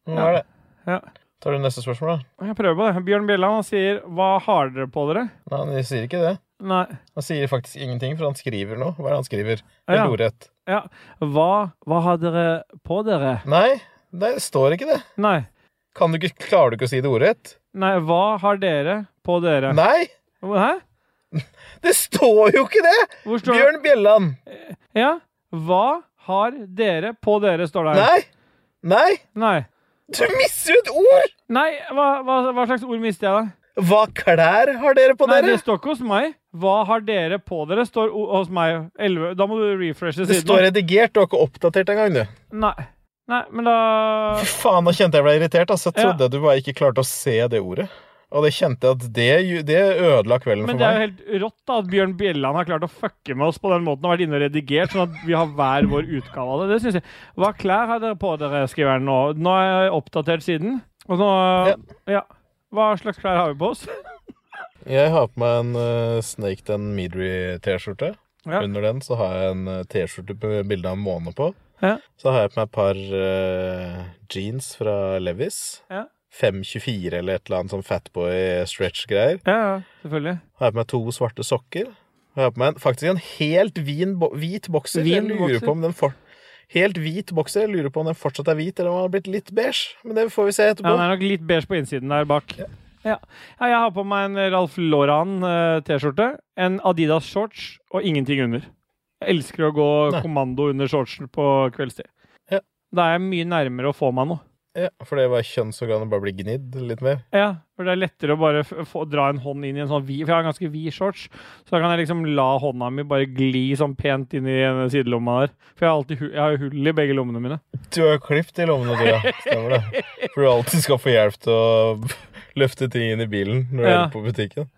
A: Hva er det?
B: Ja.
A: Tar du neste spørsmål, da?
B: Jeg prøver på det. Bjørn Bjelland han sier 'Hva har dere på dere?'
A: Nei, han sier ikke det.
B: Nei.
A: Han sier faktisk ingenting, for han skriver noe. Hva er det han skriver?
B: Ja.
A: Helt ordrett.
B: Ja. Hva, hva har dere på dere?
A: Nei, det står ikke det.
B: Nei.
A: Kan du ikke, klarer du ikke å si det ordrett?
B: Nei, hva har dere på dere?
A: Nei!
B: Hæ?
A: Det står jo ikke det!
B: Hvor står det?
A: Bjørn Bjelland!
B: Ja. Hva har dere på dere, står det her.
A: Nei! Nei!
B: Nei.
A: Du mister jo et ord!
B: Nei, hva, hva, hva slags ord mister jeg da?
A: Hva klær har dere på
B: Nei,
A: dere?
B: det står ikke hos meg. Hva har dere på dere? Står o hos meg. 11. Da må du refreshe
A: Det
B: siden.
A: står redigert, du har ikke oppdatert engang, du.
B: Nei. Nei, men da
A: Fy faen, nå kjente jeg ble irritert. Altså. Jeg
B: Ja.
A: trodde du bare ikke klarte å se det ordet. Og det kjente jeg at det, ju- det ødela kvelden
B: Men
A: for
B: det er jo
A: meg.
B: helt rått da at Bjørn Bjelland har klart å fucke med oss på den måten og vært inne og redigert, sånn at vi har hver vår utgave av det. Det synes jeg. Hva klær har dere på dere, skriver han nå. Nå er jeg oppdatert siden. Og nå Ja. Hva slags klær har vi på oss?
A: Jeg har på meg en eh, Snake Den Midry-T-skjorte.
B: Ja.
A: Under den så har jeg en eh, T-skjorte med bilde av en måne på.
B: Ja.
A: Så har jeg på meg et par eh, jeans fra Levis.
B: Ja.
A: 524 eller et eller annet sånn fatboy stretch-greier.
B: Ja, ja, selvfølgelig.
A: Har jeg på meg to svarte sokker. Har jeg på meg en, faktisk en helt vin, bo, hvit bokser. Jeg
B: Vin
A: lurer
B: bokser.
A: på om den for, helt hvit bokser. Jeg lurer på om den fortsatt er hvit, eller om den har blitt litt beige. Men det får vi se
B: Ja,
A: etterpå.
B: den er nok litt beige på innsiden der bak. Ja. ja, jeg har på meg en Ralph Lauren-T-skjorte, en Adidas shorts og ingenting under. Jeg elsker å gå
A: Nei.
B: kommando under shortsen på kveldstid.
A: Ja.
B: Da er jeg mye nærmere å få meg noe.
A: Ja, for det var kjønnsorganet bare blir gnidd litt mer.
B: Ja, for det er lettere å bare f få, dra en hånd inn i en sånn vid, for jeg har en ganske vid shorts. Så da kan jeg liksom la hånda mi bare gli sånn pent inn i en sidelomma der. For jeg har alltid hu jeg har jo hull i begge lommene mine.
A: Du har jo klippet i lommene, du, ja. Stemmer det. For du alltid skal få hjelp til å løfte ting inn i bilen når du
B: Ja.
A: er på butikken.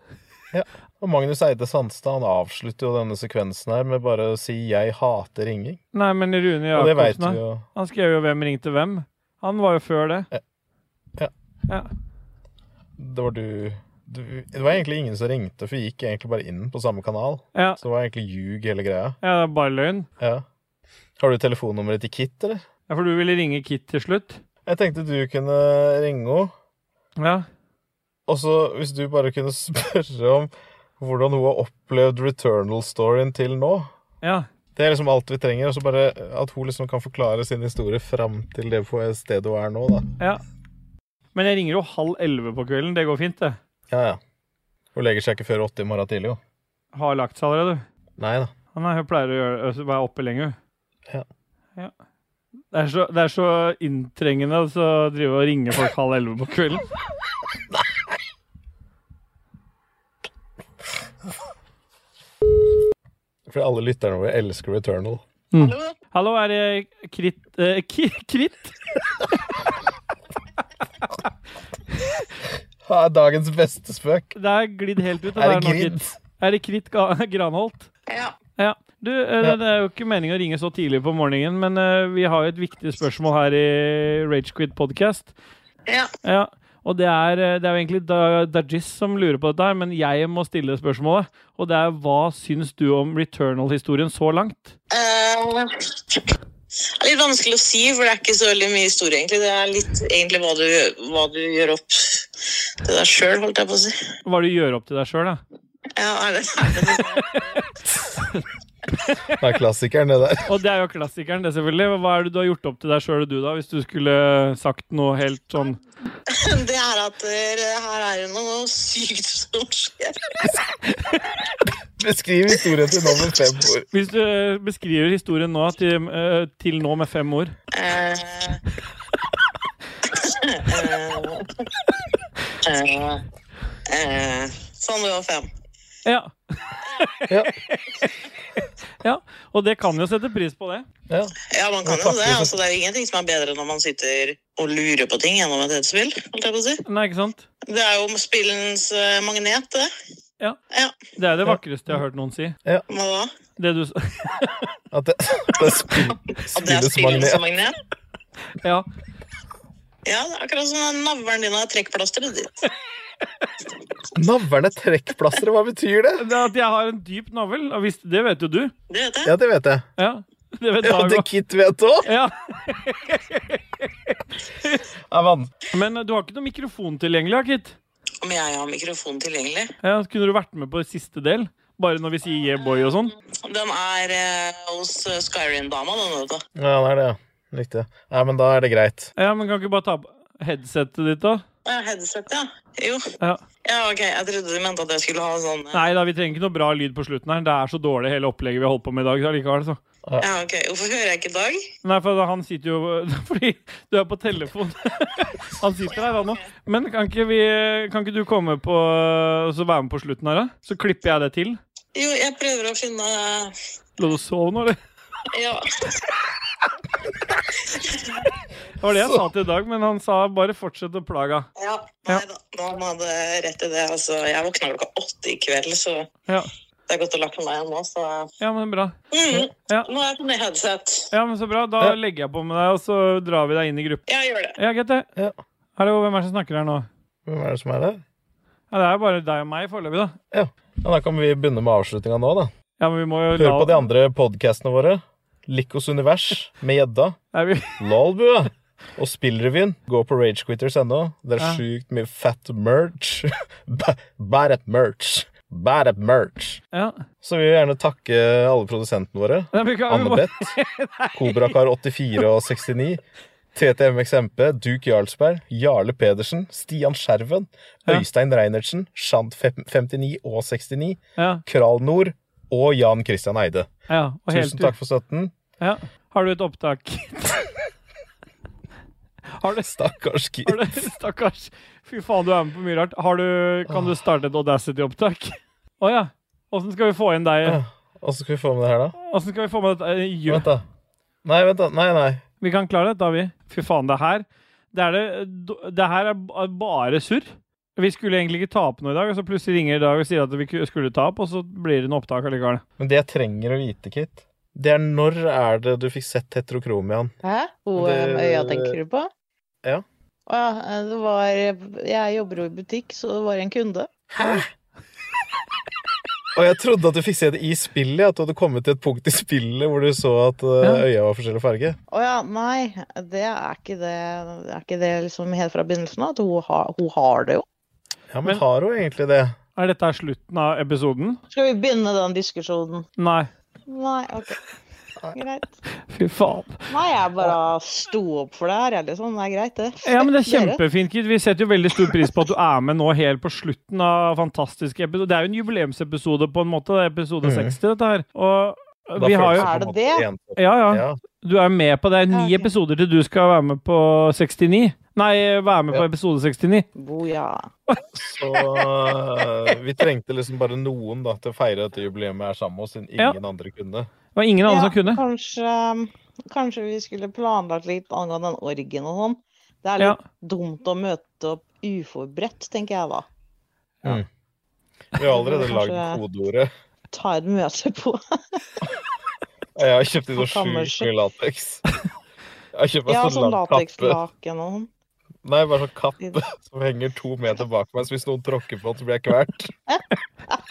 A: Ja. Og Magnus Eide Sandstad han avslutter jo denne sekvensen her med bare å si 'jeg hater ringing'.
B: Nei, men Rune
A: Og det veit vi
B: Jacobsen, da.
A: jo.
B: han skrev jo 'Hvem ringte hvem'? Han var jo før det.
A: Ja.
B: ja.
A: Det var du, du Det var egentlig ingen som ringte, for vi gikk egentlig bare inn på samme kanal.
B: Ja,
A: Så det var egentlig ljug hele greia.
B: ja det er bare løgn.
A: Ja. Har du telefonnummeret til Kit, eller?
B: Ja, for du ville ringe Kit til slutt?
A: Jeg tenkte du kunne ringe henne.
B: Ja.
A: Og så hvis du bare kunne spørre om hvordan hun har opplevd Returnal-storyen til nå.
B: ja.
A: Det er liksom alt vi trenger. Og så bare at hun liksom kan forklare sin historie fram til det på stedet hun er nå, da.
B: ja. Men jeg ringer jo halv elleve på kvelden. Det går fint, det.
A: Ja, ja. Hun legger seg ikke før åtte i morgen tidlig, jo.
B: Har lagt seg allerede.
A: Nei da.
B: Han er, hun pleier å gjøre, å være oppe lenge. hun.
A: Ja.
B: Ja. Det, er så, det er så inntrengende å så drive og ringe folk halv elleve på kvelden.
A: For alle lytterne våre elsker Returnal.
B: Hallo, er det Kritt eh, ki, Kritt?
A: Det er dagens beste spøk.
B: Det er glidd helt ut. og
A: Er det
B: nå
A: gridd?
B: Kritt. Er det Kritt Ga- Granholt?
D: Ja.
B: Ja. Du, eh,
A: Ja.
B: det er jo ikke meningen å ringe så tidlig på morgenen, men eh, vi har jo et viktig spørsmål her i Ragequid podcast.
D: Ja.
B: Ja. Og det er, eh, det er jo egentlig Da- Dajis som lurer på dette her, men jeg må stille spørsmålet. Og det er hva syns du om Returnal-historien så langt?
D: Eh, det er litt vanskelig å si, for det er ikke så veldig mye historie, egentlig. Det er litt egentlig hva du, hva du gjør opp det der sjøl, holdt jeg på å si.
B: Hva du gjør opp til deg sjøl, da?
D: Ja, er det, er det noe?
A: Det er klassikeren, det der.
B: Og det er jo klassikeren, det, selvfølgelig. Hva er det du har gjort opp til deg sjøl, du, da? Hvis du skulle eh, sagt noe helt sånn
D: det er at det her er det noe sykt som skjer.
A: Beskriv historien til nå med fem ord.
B: Hvis du eh, beskriver historien nå til, eh, til nå med fem ord
D: Eh, eh, eh, eh, sånn, det var fem.
B: Ja.
A: Ja.
B: ja. Og det kan jo sette pris på det.
A: Ja.
D: Ja, man
A: Ja,
D: kan
A: takk,
D: jo det.
A: Josef.
D: Altså, det er jo ingenting som er bedre når man sitter og lurer på ting gjennom et brettspill. holdt jeg på å si.
B: Nei, ikke sant?
D: Det er jo spillens eh, magnet, det.
B: Ja.
D: Ja,
B: Det er det vakreste jeg har hørt noen si.
D: Hva da?
B: Det du s-
A: At det, det er spill,
D: At det er
A: spillets
D: spillens
A: magnet.
D: magnet?
B: Ja.
D: Ja, det er akkurat som sånn navlen din har trekkplasteret ditt.
A: Navlen er trekkplaster, hva betyr det?
B: Det er at jeg har en dyp navl, og hvis, det vet jo du.
D: Det vet jeg.
A: Ja, det vet jeg.
B: Ja. Det vet
A: Ja,
B: Dag
A: det
B: òg.
A: Kit vet òg.
B: Ja.
A: Hva
B: Men eh, du har ikke noe mikrofon tilgjengelig, da, Kit?
D: Om jeg har mikrofon tilgjengelig.
B: Ja, kunne du vært med på siste del? Bare når vi sier yeah boy og sånn?
D: Den er eh, hos eh, Skyrim-dama, den, vet du.
A: Ja, det er det, ja. Riktig. Nei, men da er det greit.
B: Ja, men kan ikke bare ta på headsetet ditt, da?
D: Å, ja, Headset, ja. Jo.
B: Ja.
D: Ja, OK. Jeg trodde du mente at jeg skulle ha sånn eh,
B: Nei da, vi trenger ikke noe bra lyd på slutten her. Det er så dårlig hele opplegget vi har holdt på med i dag. så Allikevel, så.
D: Ja, OK. Hvorfor hører jeg ikke Dag?
B: Nei, for han sitter jo Fordi du er på telefon. Han sitter her, han òg. Men kan ikke, vi, kan ikke du komme på øh, og så være med på slutten her, da? Så klipper jeg det til.
D: Jo, jeg prøver å finne eh,
B: Lå du og sov nå, eller?
D: Ja.
B: Det var det jeg sa til Dag, men han sa bare fortsett å plage henne.
D: Ja, nei da. Noen hadde rett i det. Altså, jeg våkna klokka åtte i kveld, så
B: Ja.
D: det er godt å lagt meg igjen nå. Så eh,
B: ja, men bra.
D: mm,
B: Ja.
D: nå er jeg på ny headset.
B: Ja, men Så bra. Da
A: Ja.
B: legger jeg på med deg, og så drar vi deg inn i gruppa.
D: Ja, gjør det.
B: Ja, greit, det.
A: Ja.
B: Hallo, hvem er det som snakker her nå?
A: Hvem er det som er der?
B: Ja, Det er jo bare deg og meg foreløpig, da.
A: Ja, da kan vi begynne med avslutninga nå, da.
B: Ja, men vi må jo
A: Hør på de andre podcastene våre. Likos univers med gjedda.
B: Nei, vi...
A: Lolbua. Og spillrevyen. Gå på ragequitters.no. Det er
B: Ja.
A: sjukt mye fat merch. Ba- Bad at merch. Bad at merch.
B: Ja.
A: Så vi vil gjerne takke alle produsentene våre.
B: Nei, vi kan... vi må-
A: Anne-Beth, Kobrakar84 og 69, TTM XMP, Duke Jarlsberg, Jarle Pedersen, Stian Skjerven,
B: Ja.
A: Øystein Reinertsen, Shant fem- 59 og 69,
B: Ja,
A: Kral Nord og Jan Christian Eide.
B: ja, og helt,
A: Tusen takk for støtten.
B: Ja. Har du et opptak? har du,
A: Stakkars kid.
B: har du Stakkars. Fy faen, du er med på mye rart. Har du, kan du starte et Audacity-opptak? Å ja. Åssen skal vi få inn deg?
A: Og så skal vi få med det her, da.
B: Åssen skal vi få med dette? Eh, gjø-
A: Vent, da. Nei, vent, da. Nei, nei.
B: Vi kan klare dette, vi. Fy faen, det her Det, er det, det her er b- bare surr. Vi skulle egentlig ikke ta opp noe i dag, og så plutselig ringer i dag og sier at vi ku- skulle ta opp, og så blir det noe opptak allikevel.
A: Men det jeg trenger å vite, Kit, det er når er det du fikk sett heterokromian?
E: Hæ? Hun
A: Det-
E: eh, øya tenker du på?
A: Ja.
E: Å ja, eh, det var Jeg jobber jo i butikk, så det var en kunde.
A: Og jeg trodde at du fikk se det i spillet, at du hadde kommet til et punkt i spillet hvor du så at eh, øya var forskjellig farge.
E: Å ja, nei, det er ikke det Det er ikke det liksom helt fra begynnelsen av. At hun har, hun har det jo.
A: Ja, men,
B: Men-
A: har hun egentlig det?
B: Er dette her slutten av episoden?
E: Skal vi begynne den diskusjonen?
B: Nei.
E: Nei, OK. Greit.
B: Fy faen.
E: Nei, jeg bare sto opp for det her, jeg, liksom. Det er greit, det.
B: Ja, men det er
E: Fuck dere.
B: kjempefint, Kid. Vi setter jo veldig stor pris på at du er med nå helt på slutten av fantastiske episoder. Det er jo en jubileumsepisode, på en måte. Det er episode
A: Mhm.
B: 60, dette her. Og
A: Da
B: vi har
A: føles
B: jo
E: Er
A: på en
E: det
A: måte
E: det?
A: ensomt.
B: Ja, ja.
A: Ja.
B: Du er med på det. Det er
E: Ja,
B: ni
E: ok.
B: episoder til du skal være med på 69. Nei, være med på
A: Ja.
B: episode 69.
E: Boja.
A: Så eh, vi trengte liksom bare noen da til å feire dette jubileet her sammen med oss, siden
B: Ja.
A: ingen andre kunne.
B: Det var ingen andre som kunne.
E: Kanskje, kanskje vi skulle planlagt litt angående den orgien og sånn. Det er
B: Ja.
E: litt dumt å møte opp uforberedt, tenker jeg da.
A: Vi har allerede lagd
E: Kanskje det-
A: kodeordet.
E: Ta et møte på
A: Og Jeg har kjøpt inn så
E: Kammerset.
A: sjukt mye lateks. Jeg har kjøpt meg
E: Ja,
A: sånn
E: sånn
A: lang kappe.
E: latekslaken og sånn.
A: Nei, bare sånn kappe som henger to meter bak meg, så hvis noen tråkker på den, så blir jeg kvalt.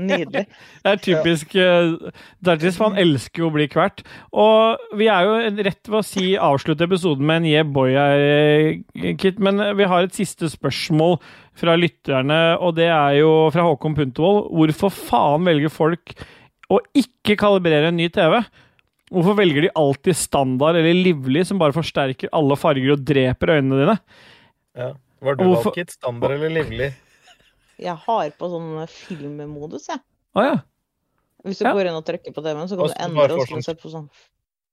E: Nydelig.
B: Det er typisk uh, Dartis, for han elsker jo å bli kvert. Og vi er jo en- rett ved å si avslutte episoden med en yeah boy her, eh, Kit, men vi har et siste spørsmål fra lytterne, og det er jo fra Håkon Puntervold. Hvorfor faen velger folk å ikke kalibrere en ny TV? Hvorfor velger de alltid standard eller livlig, som bare forsterker alle farger og dreper øynene dine?
A: Ja. Var du
B: Hvorfor-
A: valgt, Kit? Standard eller livlig?
E: Jeg har på sånn filmmodus, jeg.
B: Å ja.
E: Hvis du
B: Ja.
E: går inn og trykker på TV-en, så kan
A: Og
E: du
A: så
E: endre
A: bare
E: og
A: får
E: slå
A: sånn-
E: seg på sånn.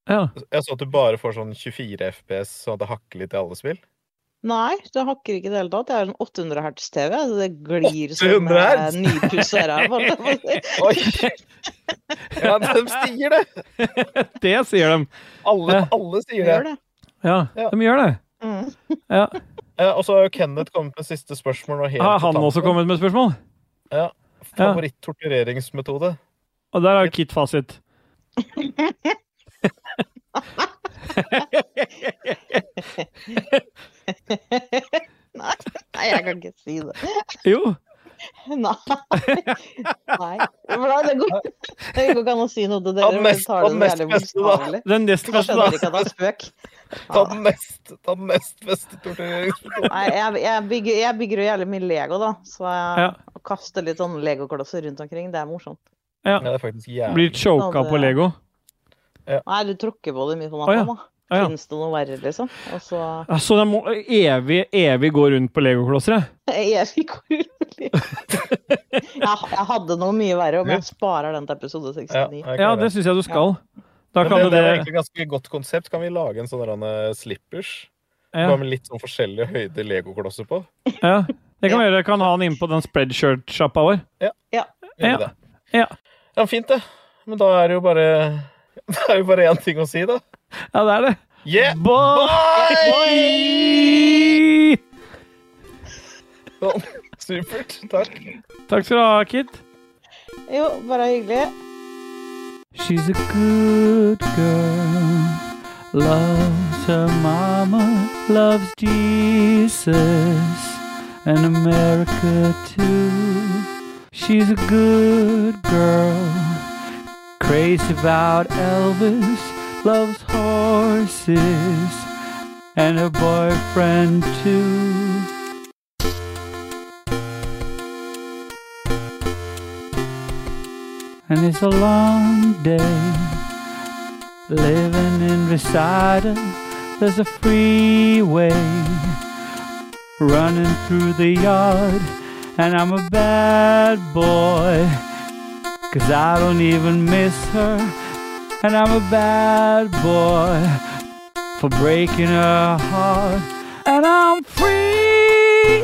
B: ja.
A: Jeg så at du bare får sånn 24 FPS, sånn at det hakker litt i alle spill.
E: Nei, det hakker ikke i det hele tatt. Jeg har en 800 hertz TV, så det glir som
A: 800
E: eh,
A: hertz?
E: nypussa ræv. holdt jeg på å si.
A: Oi! Ja, de sier det!
B: Det sier de.
A: Alle,
B: Ja.
A: alle sier det.
E: Gjør det.
B: Ja,
A: Ja.
B: de gjør det.
E: Mm.
B: Ja.
A: Ja, og så har jo Kenneth kommet med siste spørsmål. nå helt
B: Har
A: på
B: Ah, han også
A: tampen.
B: kommet med spørsmål?
A: Favoritt-tortureringsmetode?
B: Og der har Kit fasit.
E: Nei, jeg kan ikke si det.
B: Jo.
E: Nei. Nei. Nei det, går, det går ikke an å si noe til
A: Ta
E: dere.
A: den
E: for dere
A: mest-
E: tar
A: ta
E: det
A: den
E: så
A: mest
E: jævlig
A: beste, da.
E: bokstavelig.
B: Den nest
E: Dere
B: beste, da.
E: skjønner ikke at det er spøk.
A: Ta
E: Ja.
A: den nest, ta den nest beste tortureringsmetoden.
E: Nei, jeg, jeg, bygger, jeg bygger jo jævlig mye Lego, da. Så jeg
B: Ja.
E: kaster litt sånn legoklosser rundt omkring. Det er morsomt.
A: Ja, det er faktisk jævlig
B: Blir choka på Lego.
E: Nei, du tråkker på det mye på
B: Å, ja.
E: natta, da.
B: Å, ja.
E: Fins det noe verre, liksom? Og så
B: Så det må evig, evig gå rundt på legoklosser? ja?
E: Jeg fikk urolig. Jeg, jeg hadde noe mye verre, men jeg sparer den til episode 69.
A: jeg
B: Ja,
A: klarer
B: det syns jeg du skal. Da
A: Men
B: kan
A: det,
B: du
A: det er
B: det.
A: egentlig et ganske godt konsept. Kan vi lage en sånn der, eh, slippers?
B: Ja,
A: Bare med litt sånn forskjellige høyder legoklosser på?
B: ja. Det kan vi gjøre. Kan ha han innpå den spreadshirt-sjappa vår.
A: Gjør
B: Ja.
A: vi det?
B: Ja.
A: ja, fint det. Men da er det jo bare Det er jo bare én ting å si, da.
B: Ja, det er det.
A: Yeah!
B: Bye!
A: Sånn. Supert. Takk.
B: Takk skal du ha, Kit.
E: Jo, bare hyggelig.
B: She's a good girl. Loves her mama, loves Jesus and America too. She's a good girl. Crazy about Elvis, loves horses and her boyfriend too. and it's a long day. Living in Recital, there's a freeway running through the yard, and I'm a bad boy. Cause I don't even miss her, and I'm a bad boy for breaking her heart, and I'm free.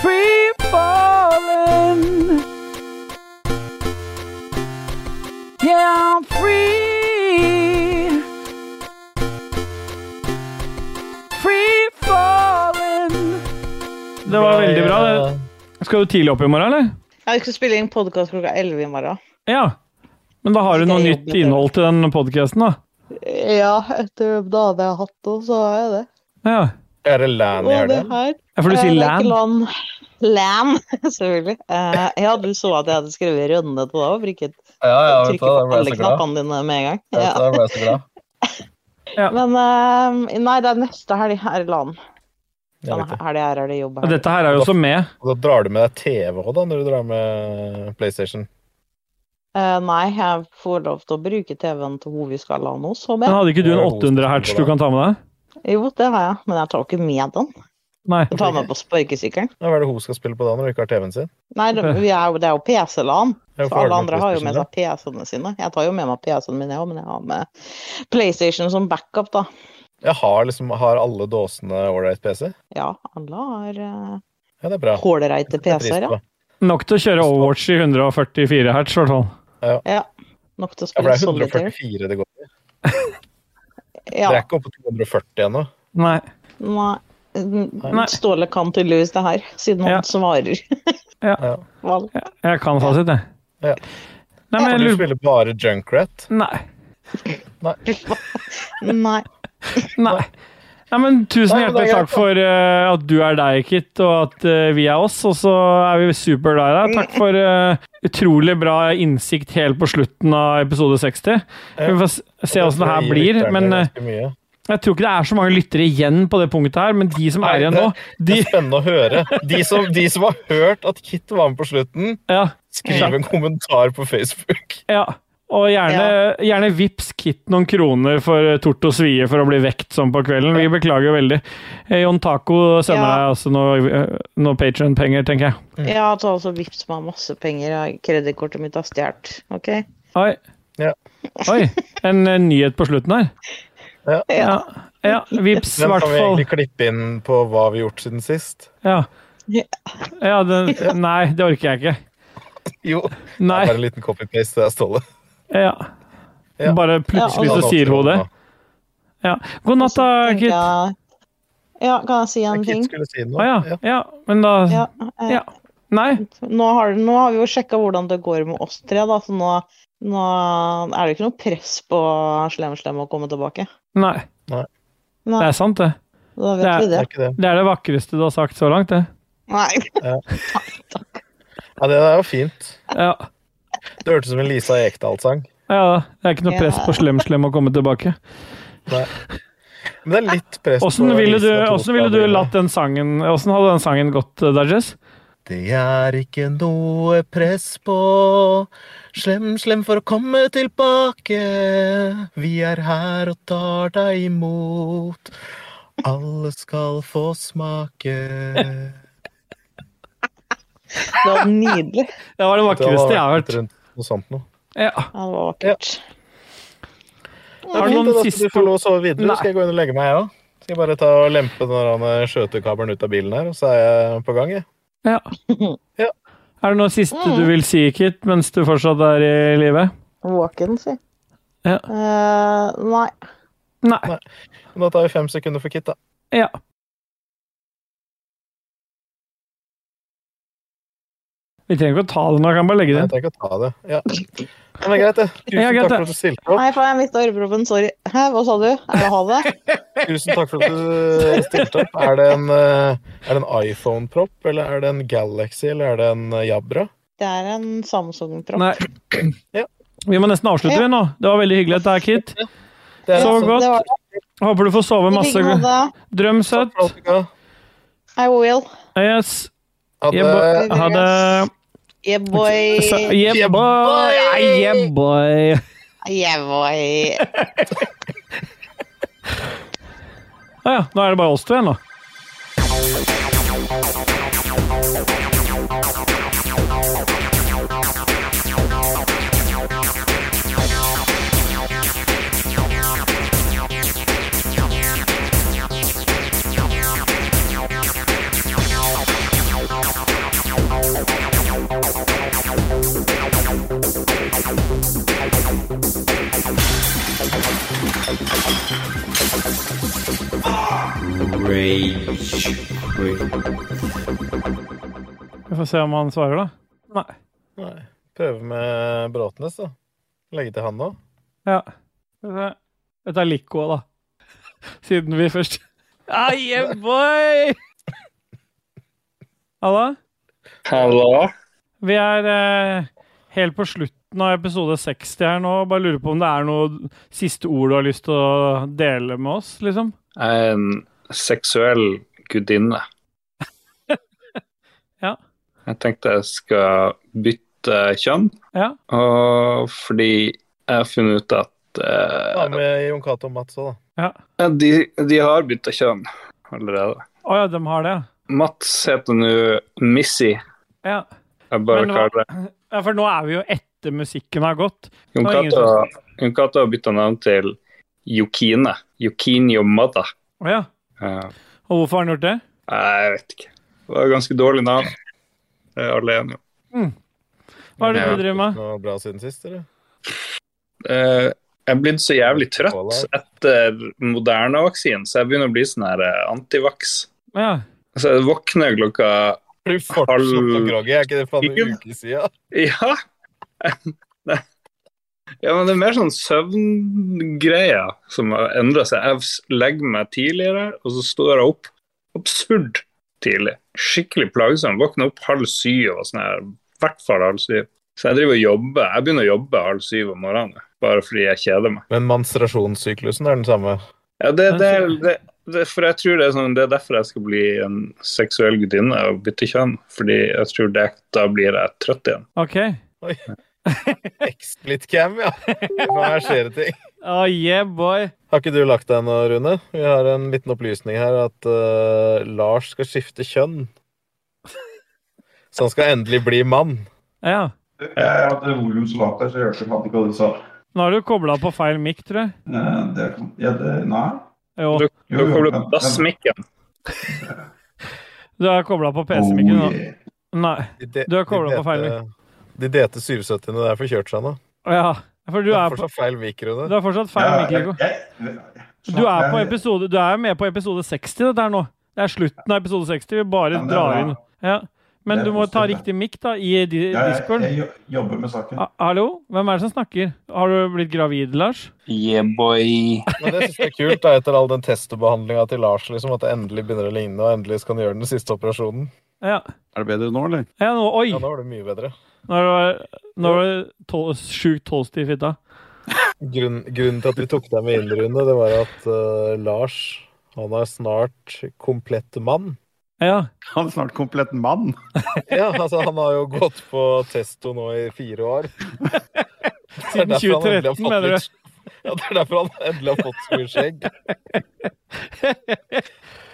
B: Free falling. Yeah, I'm free. Free falling. Det var veldig bra. det. Skal du tidlig opp i morgen, eller?
E: Jeg skal spille inn podkast klokka 11 i morgen.
B: Ja. Men da har du
E: Skal
B: noe
E: jeg
B: nytt
E: jobbe til?
B: innhold til den podkasten, da.
E: Ja, etter de dagene jeg har hatt nå, så har jeg det.
B: Ja.
A: Er det land i
E: Og det
A: helga?
E: her
B: Ja, For du sier
E: Eh, det er ikke
B: land.
E: Lan. Lan, selvfølgelig. Eh, ja, du så at jeg hadde skrevet Rønne på det òg, for ikke
A: Ja, ja, vet du,
E: trykke
A: da
E: på
A: ble jeg
E: alle
A: så glad.
E: knappene dine med en gang.
A: Vet du,
E: Ja.
A: da ble jeg så glad.
E: Men eh, nei, det er neste helg her i Lan.
A: Jeg vet
E: Denne
A: det.
E: helga her Sånn er det jobb
B: Og
E: her.
B: Dette her er jo også med.
A: Og Da drar du med deg TV òg, da, når du drar med PlayStation.
E: Eh, nei, jeg får lov til å bruke TV-en til hvor vi skal ha Lan hos, håper
B: Men
E: jeg.
B: hadde ikke du en 800 hertz du kan ta med deg?
E: Jo, det har jeg, men jeg tar jo ikke med den.
B: Nei.
E: Jeg tar med på sparkesykkelen.
A: Ja, Hva er det hun skal spille på da, når hun ikke har TV-en sin?
E: Nei, det, vi er, jo- det er jo PC-LAN.
A: Ja,
E: Så
A: for har
E: alle
A: du
E: andre har jo med
A: PlayStation,
E: seg PC-ene sine. Jeg tar jo med meg PC-en min, jeg òg, men jeg har med PlayStation som backup, da.
A: da? Jeg har liksom har alle dåsene ålreit PC.
E: Ja, alle har uh,
A: Ja, det er bra.
E: hålreite PC-er, ja.
A: ja.
B: Nok til å kjøre Overwatch i 144 hertz, i hvert fall.
E: Nok til å
A: Ja, for det
E: spille
A: er
E: solitaire.
A: 144 det går i.
E: Ja,
A: Det er ikke oppe på 240 ennå.
B: Nei.
E: nei.
B: Nei.
E: eh, Ståle kan tydeligvis det her, siden han
B: Ja.
E: svarer.
A: Ja.
E: Val.
B: Jeg, jeg kan fasit, jeg.
A: Ja.
B: Nei, men
A: Kan
B: jeg
A: du
B: lurer
A: spille bare Junkrat?
B: Nei.
E: Nei.
B: Nei. Nei, men tusen
A: Nei, men det er
B: hjertelig takk
A: greit, da.
B: for eh, at du er deg, Kit, og at eh, vi er oss. Og så er vi superglad i deg. Takk for eh, utrolig bra innsikt helt på slutten av episode 60. Vi får s- se åssen det her blir. Men eh, jeg tror ikke det er så mange lyttere igjen på det punktet her, men de som
A: Nei,
B: er igjen
A: det-
B: nå,
A: Det
B: de
A: er spennende å høre. De som, de som har hørt at Kit var med på slutten,
B: Ja.
A: skriv en kommentar på Facebook.
B: ja. Og gjerne, gjerne vips Kit noen kroner for eh, tort og svie for å bli vekt sånn på kvelden. Vi beklager veldig. Eh, Jon Taco sender
E: Ja.
B: deg altså noe, eh, noe Patron-penger, tenker jeg.
E: Jeg har tatt også vips meg masse penger, og kredittkortet mitt har stjålet. OK?
B: Oi.
A: Ja.
B: Oi. En eh, nyhet på slutten her.
E: Ja.
B: Ja. ja. Vips, i
A: Den
B: hvert
A: kan vi
B: fall.
A: egentlig klippe inn på hva vi har gjort siden sist.
B: Ja.
E: Ja.
B: ja den, nei, det orker jeg ikke.
A: Jo,
B: Nei.
A: bare en liten copy-paste der, Ståle.
B: Ja.
A: Ja.
B: Bare
E: Ja,
B: plutselig
E: og-
B: så sier hun det. Ja. God natt, da,
E: tenker
B: Kit. Å
E: jeg- Ja, kan jeg si en ting?
A: Kit skulle si noe.
B: ja.
A: Ja.
B: ja. Men da
E: Ja. eh,
B: Ja. Nei.
E: Nå har, nå har vi jo sjekka hvordan det går med oss tre, da, så nå, nå er det ikke noe press på Slem-Slem å komme tilbake.
B: Nei.
E: Nei,
B: Det er sant, det.
E: da vet
B: det er-
E: vi
A: Det
E: det.
A: er ikke det.
B: Det er det vakreste du har sagt så langt, det.
E: Nei.
A: Ja, det er jo fint.
B: Ja.
A: Det hørtes ut som en Lisa Ekdal-sang.
B: ja. Det er ikke noe press på Slem-Slem å komme tilbake.
A: Men det er litt press
B: Åssen
A: på
B: ville du,
A: Lisa Torsdag
B: hvordan ville du
A: Brune.
B: latt den sangen Åssen hadde den sangen gått, eh, Dajez?
A: Det er ikke noe press på Slem, slem for å komme tilbake Vi er her og tar deg imot Alle skal få smake
E: Det var nydelig.
B: Det var det vakreste jeg har
A: vært
B: hørt.
A: rundt noe sånt nå
B: Ja.
E: Ja, det var vakkert.
B: Har du noen siste
A: Du får lov å sove videre,
B: Nei.
A: så skal jeg gå inn og legge meg jeg også Skal jeg bare ta og lempe den der skjøtekabelen ut av bilen her Og så er jeg på gang, jeg
B: Ja.
A: Ja.
B: Er det noe siste du vil si, Kit, mens du fortsatt er i live?
E: Våken, si.
B: Ja.
E: Eh, nei.
B: Nei.
A: Men da tar vi fem sekunder for Kit da
B: Ja. Vi trenger ikke å ta det nå, jeg kan bare legge det
A: Jeg
B: inn.
A: tenker å ta det ja. Men det er greit det Tusen
B: Ja, greit,
A: takk
B: det.
A: for at du stilte opp
E: Nei, faen, jeg mista øreproppen. Sorry. Hæ, hva sa du? Er det ha det?
A: Tusen takk for at du eh, stilte opp. Er det en, eh, er det en iPhone-propp, eller er det en Galaxy, eller er det en eh, Jabra?
E: Det er en Samsung-propp.
B: Nei.
A: Ja.
B: Vi må nesten avslutte, vi nå. Det var veldig hyggelig at det er Kit.
A: Det er en
B: Så
A: sånn-
E: Det
B: godt.
E: var det.
B: Håper du får sove
E: I
B: masse.
E: like måte.
B: Drøm
A: Takk
B: søtt.
A: for alt du ga.
E: I will.
B: Yes.
A: At,
B: Yeah,
A: eh,
B: boy. Ha det.
E: Yeah, boy.
B: Så, yeah,
A: Yeah,
B: boy.
A: boy.
B: Ah, Yeah, boy.
E: Yeah, boy.
B: Ah, ja. Nå er det bare oss to igjen, nå. Vi får se om han svarer, da. Nei.
A: Nei. Prøve med Bråtnes, da. Legge til han nå.
B: Ja. Skal vi se. Dette er Lico, da. Siden vi først Ah, yeah, boy! Halla.
F: Hallo?
B: Vi er eh, helt på slutten av episode 60 her nå. Bare lurer på om det er noe siste ord du har lyst til å dele med oss, liksom?
F: Jeg er en seksuell gudinne.
B: Ja.
F: Jeg tenkte jeg skal bytte kjønn,
B: Ja.
F: og fordi jeg har funnet ut at
A: Ta
F: eh,
A: med Jon Cato og Mats òg, da.
F: de, de har bytta kjønn allerede.
B: Å ja, de har det,
F: Mats heter nå Missy.
B: ja. ja.
F: Jeg bare
B: Men hva-
F: kaller det
B: Ja, for nå er vi jo etter musikken har gått.
F: Jon
B: det var ingen
F: Cato- Jon Cato har bytta navn til Yukine. Yukine your mother.
B: Å ja.
F: Eh,
B: Og hvorfor har han gjort det?
F: jeg vet ikke. Det var et ganske dårlig navn. Det er alle enige om.
B: Hva er det
F: Ja.
B: du driver med?
A: Noe bra siden sist, eller?
F: Eh, jeg er blitt så jævlig trøtt etter Moderna-vaksinen, så jeg begynner å bli sånn her eh, antivaks.
B: Ja.
F: Så jeg våkner klokka
A: Blir fortsatt noe groggy, er ikke det faen en uke siden?
F: Ja! Nei. Ja, men det er mer sånn søvngreier som har endra seg. Jeg s- legger meg tidligere, og så står jeg opp absurd tidlig. Skikkelig plagsom. Våkner opp halv syv og sånn her. I hvert fall halv syv. Så jeg driver og jobber. Jeg begynner å jobbe halv syv om morgenen bare fordi jeg kjeder meg.
A: Men menstruasjonssyklusen er den samme.
F: Ja, det, det,
B: Jeg
F: det, det, for jeg tror det er, sånn, det er derfor jeg skal bli en seksuell gudinne og bytte kjønn. Fordi jeg tror det, da blir jeg trøtt igjen.
B: OK.
A: Explit cam, ja. Her skjer det ting.
B: Oh, yeah, boy.
A: Har ikke du lagt deg nå, Rune? Vi har en liten opplysning her at eh, Lars skal skifte kjønn. Så han skal endelig bli mann.
B: Ja.
G: Jeg hadde volum så lavt der, så jeg hørte faen ikke hva du sa.
B: Nå har du kobla på feil mic, tror jeg.
G: Nei, det, ja, det, nei.
B: Jo.
F: Du kommer til dassmikken.
B: Du har kobla på
G: Oh,
B: PC-mikken nå. Nei.
A: De de-
B: Du har koblet
A: de
B: på feil
A: dete- De dete 770-ene der får kjørt seg nå.
B: Å ja. For du
A: Det er
B: er på,
A: fortsatt feil mic, Rune.
B: du har fortsatt feil mic, Viggo. Du er, på episode, du er med på episode 60 dette her nå. Det er slutten av episode 60. Vi bare
G: Ja, men det er
B: drar
G: bra.
B: inn. Ja. Men
G: Det er
B: du må ta
G: positivt,
B: riktig mic da, i di-
G: Jeg,
B: discorden.
G: jeg jo- jobber med saken.
B: Ha- Hallo? Hvem er det som snakker? Har du blitt gravid, Lars?
F: Yeah, boy.
A: Men det synes jeg er kult, da, etter all den testbehandlinga til Lars, liksom, at det endelig begynner å ligne, og endelig skal han gjøre den siste operasjonen.
B: Ja.
H: Er det bedre nå, eller?
B: ja nå, oi!
A: Ja, nå var det mye bedre.
B: Nå er det- nå er det tol- sjukt toast i fitta.
A: Grunn, grunnen til at vi tok deg med inn, Rune, det var at eh, Lars han er snart komplett mann.
B: Ja.
H: Han er snart komplett mann.
A: Ja, altså Han har jo gått på testo nå i fire år. Det er
B: Siden
A: derfor han endelig har
B: 2013,
A: fått
B: mener du?
A: litt- Ja, det er derfor han endelig har fått så mye skjegg.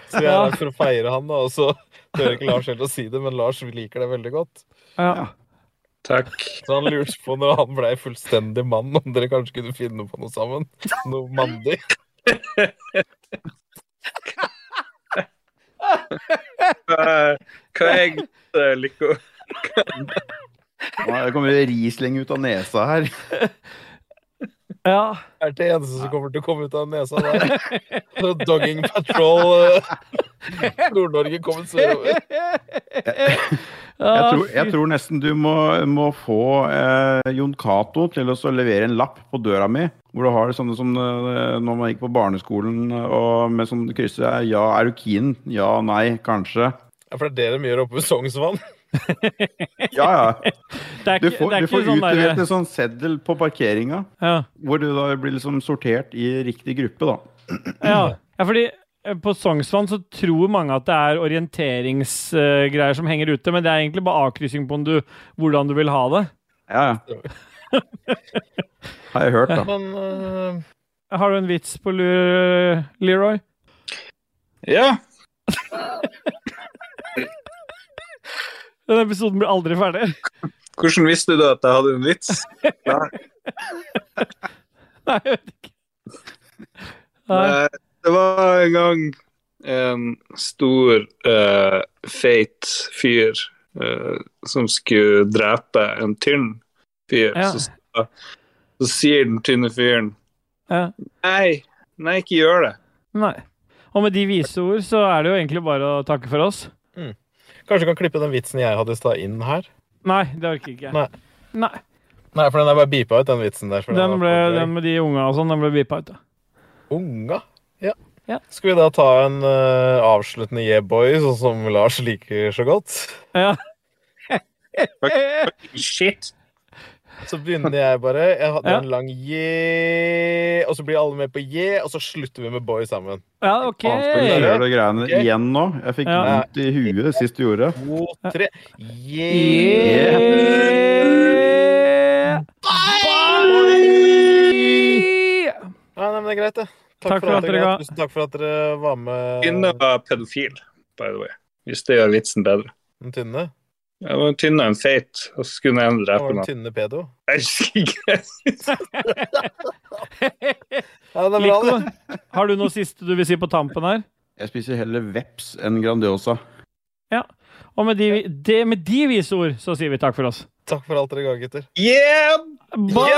A: Så vi er
B: Ja.
A: her for å feire han, da, og så tør ikke Lars helt å si det, men Lars liker det veldig godt.
B: Ja.
F: Takk.
A: Så han lurte på når han blei fullstendig mann, om dere kanskje kunne finne på noe sammen. Noe mandig.
F: Hva hva er egentlig eh, Lico?
H: Nå er- Det kommer risling ut av nesa her.
B: ja.
A: Er det eneste som kommer til å komme ut av nesa der. Så Dogging Patrol eh, Nord-Norge kommer sørover.
B: Ah,
H: Jeg tror, jeg tror nesten du må, må få eh, Jon Cato til å så levere en lapp på døra mi, hvor du har sånne som eh, når man gikk på barneskolen og med sånn krysset er Ja, er du keen? Ja, nei, kanskje.
A: Ja, for det er det de gjør oppe ved Sognsvann.
H: Ja, ja.
B: Det er
H: Du
B: ikke,
H: får,
B: det er
H: du
B: ikke
H: får
B: sånn
H: utlevert
B: derre
H: en sånn seddel på parkeringa,
B: ja.
H: hvor du da blir liksom sortert i riktig gruppe, da.
B: Ja. ja, fordi eh, på Sognsvann så tror mange at det er orienteringsgreier som henger ute, men det er egentlig bare avkryssing på om du, hvordan du vil ha det.
H: Ja, ja. Har jeg hørt, da.
A: Men eh,
B: Har du en vits på lur, Leroy?
F: Ja.
B: Denne episoden blir aldri ferdig.
F: Hvordan visste du at jeg hadde en vits?
B: Nei, jeg vet ikke. Nei.
F: Nei, Det var en gang en stor, eh, feit fyr eh, som skulle drepe en tynn fyr.
B: Ja.
F: Så, sa- så sier den tynne fyren
B: Ja.
F: Nei, nei, ikke gjør det.
B: Nei. Og med de vise ord så er det jo egentlig bare å takke for oss.
A: kanskje du kan klippe den vitsen jeg hadde i stad, inn her?
B: Nei, det orker ikke jeg.
A: Nei.
B: Nei.
A: Nei, for den er bare beepa ut, den vitsen der. for
B: Den, ble,
A: var på-
B: den med de unga og sånn, den ble beepa ut. da.
A: Unga? Ja.
B: Ja.
A: Skal vi da ta en eh, avsluttende yeah boy, sånn som Lars liker så godt?
B: Ja.
F: Shit.
A: Så begynner jeg bare. Jeg hadde
B: Ja.
A: en lang yeah, og så blir alle med på yeah, og så slutter vi med boy sammen.
B: Ja, OK.
H: Faen, skal vi gjøre det greiene igjen nå? Jeg fikk
B: Ja.
H: vondt i huet sist du gjorde det.
A: To, tre. Yeah!
B: Yeah. Bye!
A: Ja, nei, men det er greit, det. Takk,
B: Takk
A: for, at dere
B: ga-
A: Tusen takk for at dere var med.
F: Tynne var pedofil, by the way. Hvis det gjør vitsen bedre.
A: Den tynne.
F: Jeg var tynn og en feit, og så skulle jeg
A: Han
F: drepe
A: var den
F: meg.
A: tynne pedo.
F: Jeg husker ikke.
A: Ja, det er bra,
B: Nico,
A: det.
B: har du noe siste du vil si på tampen her?
H: Jeg spiser heller veps enn Grandiosa.
B: Og med de, de, med de vise ord så sier vi takk for oss.
A: Takk for alt dere ga, gutter.
F: Yeah,
B: Bye!